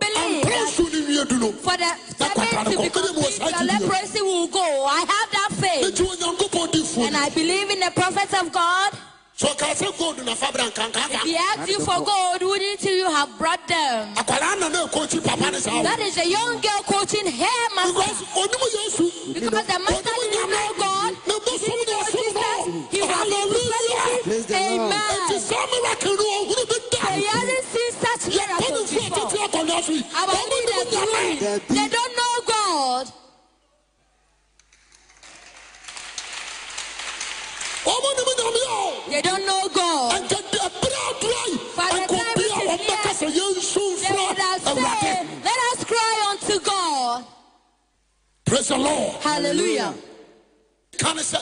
S2: believe
S1: ampra
S2: that
S1: nsu ne nwie du no
S2: for the
S1: That was
S2: seven to be
S1: radical. Maybe it was
S2: complete, your
S1: ideal.
S2: leprosy will go. I have that faith.
S1: nti onyankopɔn di fo
S2: And I believe in the prophets of God.
S1: sɛ ɔkaa sɛ gold na fa bra
S2: If he
S1: nkankanka
S2: asked you for gold, wouldn't you have brought them?
S1: akwaraa na na ɛkɔkyi papa ne saa
S2: That
S1: wo
S2: is the young girl coaching her
S1: because
S2: master.
S1: ɔnim yesu
S2: Because the master didn't know God.
S1: na
S2: He
S1: bosom
S2: didn't
S1: na
S2: know
S1: ɛsom
S2: Jesus. He
S1: no
S2: was
S1: halleluya
S2: in
S3: Praise
S2: his
S3: the Lord.
S1: nti
S2: Amen.
S1: saa miracle no ɔhunu bi da
S2: He hasn't seen such miracles
S1: yɛpɔnefo
S2: before.
S1: atete akɔnea so yi
S2: Our
S1: ɔmo
S2: leaders
S1: ne
S2: ruined.
S1: nyama
S2: They don't know God.
S1: ɔmo ne nyame
S2: They don't know God.
S1: a ɛnkɛde ɛberɛ adora yi
S2: Father,
S1: ɛnkɔbi
S2: time
S1: a
S2: is
S1: ɔmmɛka sɛ yɛnsu
S2: They would
S1: mfra
S2: have said,
S1: awurade
S2: Let us cry unto God.
S1: praise the lord
S2: Hallelujah.
S1: ka ne sɛ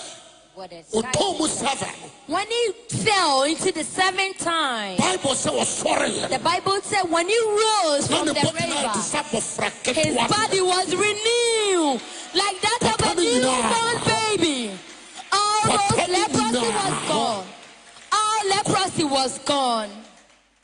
S2: What a
S1: ɔtɔn mu seven
S2: When he fell into the seventh time,
S1: bible sɛ ɔsɔreeɛ
S2: the Bible said when he rose
S1: na
S2: from
S1: ne
S2: the
S1: bɔdi na ɛte
S2: river,
S1: sɛ abɔfra
S2: his
S1: ketewa
S2: body was renewed like that of a newborn baby. All those leprosy was gone. All leprosy was gone.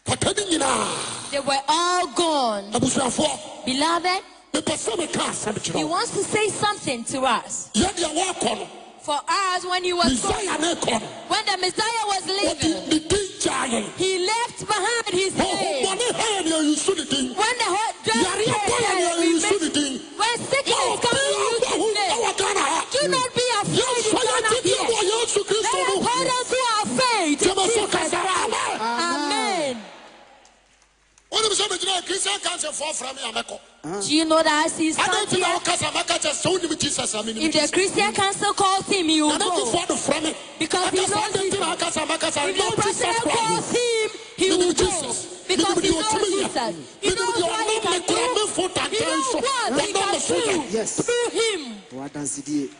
S1: pata ne nyinaa
S2: They were all gone.
S1: abusuafoɔ
S2: Beloved,
S1: mepɛ sɛ meka asɛm kyerɛ
S2: he
S1: wo
S2: wants to say something to us.
S1: yɛdeɛ wɔakɔ no
S2: For us, when he was
S1: mesaia ne kɔ no
S2: when the Messiah was leaving,
S1: wɔde ne din gyaa yɛn
S2: he left behind his
S1: Oh,
S2: name.
S1: ɔhommɔne haa ne ayiso ne din
S2: When the whole
S1: yare abɔyɛ ne ayiso ne din
S2: When sickness
S1: Now,
S2: comes,
S1: be
S2: you
S1: careful
S2: can
S1: who
S2: say,
S1: our Ghana are.
S2: Do not be afraid
S1: Yes,
S2: in
S1: I am
S2: Ghana
S1: to be
S2: yet.
S1: our Yesu Christ,
S2: Let us
S1: no.
S2: hold on to our faith in
S1: Jama so
S2: Jesus
S1: kasa,
S2: Christ.
S1: amen.
S2: Amen.
S1: Wɔde me sɛ megyina Christian Council for fra me a mɛkɔ.
S2: Do you know that as he
S1: Adɛn
S2: stands
S1: nti na
S2: here,
S1: wokasa mɛka kyerɛ sɛ wonim Jesus a menim
S2: if the
S1: Jesus?
S2: Christian council calls him, he will go.
S1: Anankifoɔ de fra me.
S2: Because he
S1: Adɛn sɛ
S2: knows
S1: adɛn nti
S2: Jesus.
S1: na wokasa mɛkasa? I
S2: If
S1: know
S2: the
S1: Jesus
S2: president calls
S1: Christ.
S2: him, he
S1: Menim
S2: will go.
S1: Jesus.
S2: Because
S1: Menim
S2: he
S1: deɛ
S2: knows
S1: ɔtumi yɛ.
S2: Jesus. He
S1: Menim
S2: knows
S1: deɛ
S2: what he
S1: ɔnam ne
S2: can
S1: kra me
S2: do.
S1: mfo
S2: He
S1: tantan
S2: knows
S1: so.
S2: what he
S1: Wɔnam ne so
S2: can
S1: yɛ.
S2: do
S3: Yes.
S2: through him.
S3: Wadansidie.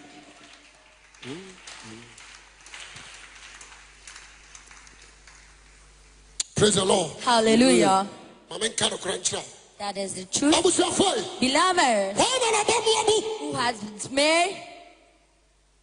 S1: Praise the Lord.
S2: Hallelujah.
S1: Ma menka nokorɛ nkyerɛ wo.
S2: That is the truth.
S1: Abusuafoɔ yi,
S2: Beloved,
S1: wɔn na wɔabɛboa mo.
S2: who has made,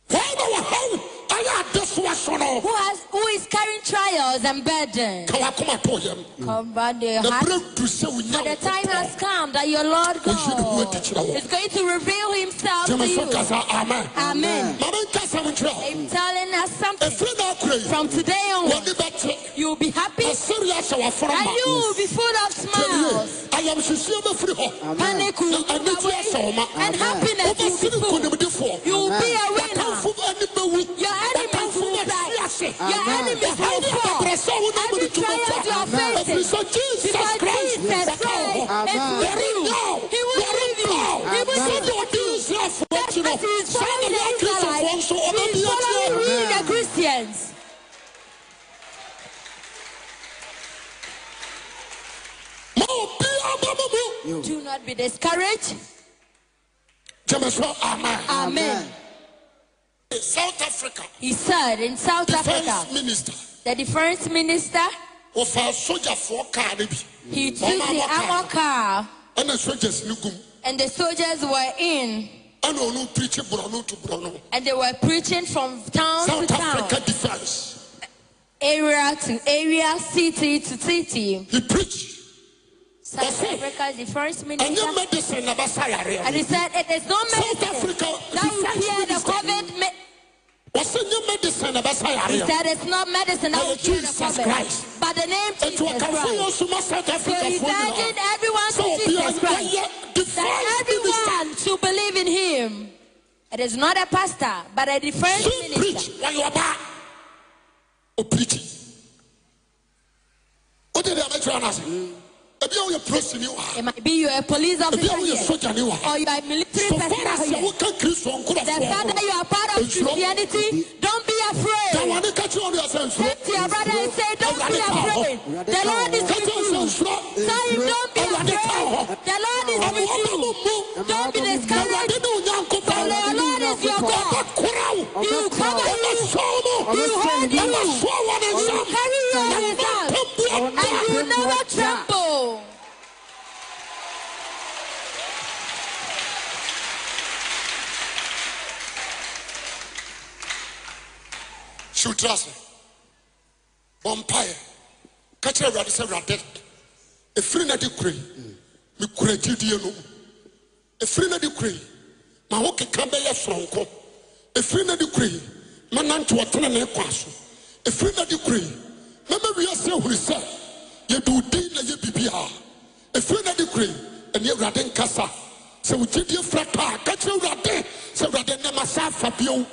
S1: Wɔn na wɔhaw ayɛ adesoa so no.
S2: who has, who is carrying trials and burden,
S1: ka wakoma to yam
S2: come by the
S1: na
S2: heart.
S1: berɛ du sɛ wonya
S2: The time has come that your Lord God is going to reveal Himself to
S1: gyeme so
S2: you.
S1: kasa amen
S2: Amen.
S1: ma menka sɛm nkyerɛ
S2: I'm telling us
S1: wo
S2: something.
S1: ɛfiri na akora yi
S2: From today
S1: wɔde
S2: onward,
S1: bɛte
S2: you'll be happy
S1: asɛre ahyɛ wafora
S2: and
S1: ma
S2: you will be full of smiles.
S1: Tell you, ayamhyehyeɛ bɛfiri hɔ
S3: Amen.
S2: Panic will
S1: na
S2: go
S1: anigye
S2: away
S1: ahyɛ wo ma
S2: and happiness will be
S1: wobɛsere
S2: full.
S1: nkonimdifoɔ
S2: You will be a winner.
S1: wakamfo ani bɛwu
S2: Your enemies
S1: wakamfo
S2: will
S1: bɛhwe
S2: die.
S1: ase
S2: Your enemies will
S1: ɛhane
S2: fall.
S1: abrɛsɛ wo na
S2: Every
S1: mane tuma
S2: trial you are
S1: fa ɛfiri
S2: facing,
S1: sɛ jesus
S2: because
S1: christ
S2: Jesus
S1: wɔka wo
S2: Christ
S1: hɔ
S3: Amen.
S2: is with you. He will leave you. He will
S1: Sɛde
S2: take
S1: ɔde
S2: you.
S1: Israelfoɔ
S2: Just
S1: akyi no,
S2: as he is
S1: saa na
S2: following the
S1: ɛyɛ Akristofoɔ
S2: Israelites,
S1: nso,
S2: he
S1: ɔbɛbi
S2: is
S1: akyerɛ
S2: following
S1: wo.
S2: we, the Christians.
S1: Ma obiara mma mo mu.
S3: Yo.
S2: Do not be discouraged.
S1: Gye me so, amen.
S2: Amen.
S1: South Africa
S2: He said in South
S1: Defense
S2: Africa,
S1: Minister
S2: the defense minister,
S1: wɔfa sogyafoɔ kaa no bi
S2: he took the armor car
S1: ɛna soldiers no gum
S2: and the soldiers were in
S1: ɛna ɔno pirikyi borɔno to borɔno
S2: and they were preaching from town to
S1: South Africa
S2: town,
S1: Defense
S2: area to area, city to city.
S1: he preach
S2: South
S1: That's it.
S2: Africa's defense minister.
S1: ɛnyɛ medicine na bɛsa yareɛ
S2: And he
S1: no.
S2: said, It is not
S1: South
S2: medicine
S1: Africa
S2: that will
S1: defense
S2: cure the
S1: minister
S2: COVID. Me-
S1: wɔsɛ nyɛ medicine na bɛsa
S2: he
S1: yareɛ no.
S2: said, It's not medicine that will
S1: Hey,
S2: cure the
S1: Jesus Christ.
S2: COVID. But the name
S1: ɛnti
S2: Jesus
S1: wɔkamfo
S2: Christ.
S1: yɛ soma South
S2: So he's
S1: Africafoɔ nyinaa
S2: urging everyone
S1: sɛ
S2: to
S1: ɔbia
S2: Jesus Christ.
S1: wɔyɛ defense minister
S2: That everyone to believe in him. It is not a pastor, but a defense
S1: Don't preach
S2: minister.
S1: while you are back. Oh, preaching. What did I make you answer? Ebi awo yɛ polisi ni wa.
S2: It might be you're a police
S1: Ebi
S2: officer
S1: awo
S2: here,
S1: yɛ soja ni wa.
S2: or you're a military
S1: So far as
S2: person
S1: yɛ
S2: here.
S1: woka kirisito
S2: The fact that
S1: nkorɔfoɔ.
S2: you are part of
S1: It's wrong.
S2: Christianity, don't be afraid.
S1: Dawani kati ɔni ɛsɛ nsuro.
S2: Turn to your brother and say, Don't be afraid. The Lord is
S1: Kati
S2: with
S1: ɛsɛ
S2: you.
S1: nsuro.
S2: Tell him, Don't be afraid. The Lord is
S1: Awo
S2: with you.
S1: ɔba mo mu.
S2: Don't be
S1: Awurade
S2: discouraged.
S1: ni onyanko
S2: For the Lord is your God.
S1: Ɔbɛ kura wo.
S2: He will cover
S1: Ɔbɛ
S2: you.
S1: sɔ wɔso wɔ ne
S2: You
S1: nsam
S2: carry your resolve
S1: mpaboa
S2: and you
S1: da
S2: never tremble.
S1: hyew tra ase bɔ mpaeɛ ka kyerɛ awurade sɛ awurade ɛfiri no de kure yi, mekura gyidie no mu ɛfiri no de kure yi, ma wo keka bɛyɛ soronko ɛfiri no de kure yi, mɛnante ɔtene ne kwa so ɛfiri no de kure yi, mɛma wiase ahunu sɛ yɛde wo din na yɛ biribiaa ɛfiri no de kure yi, ɛne ah, awurade nkasa sɛ wo gyidie fra tɔ a ka kyerɛ awurade sɛ awurade nnɛma sa afa bio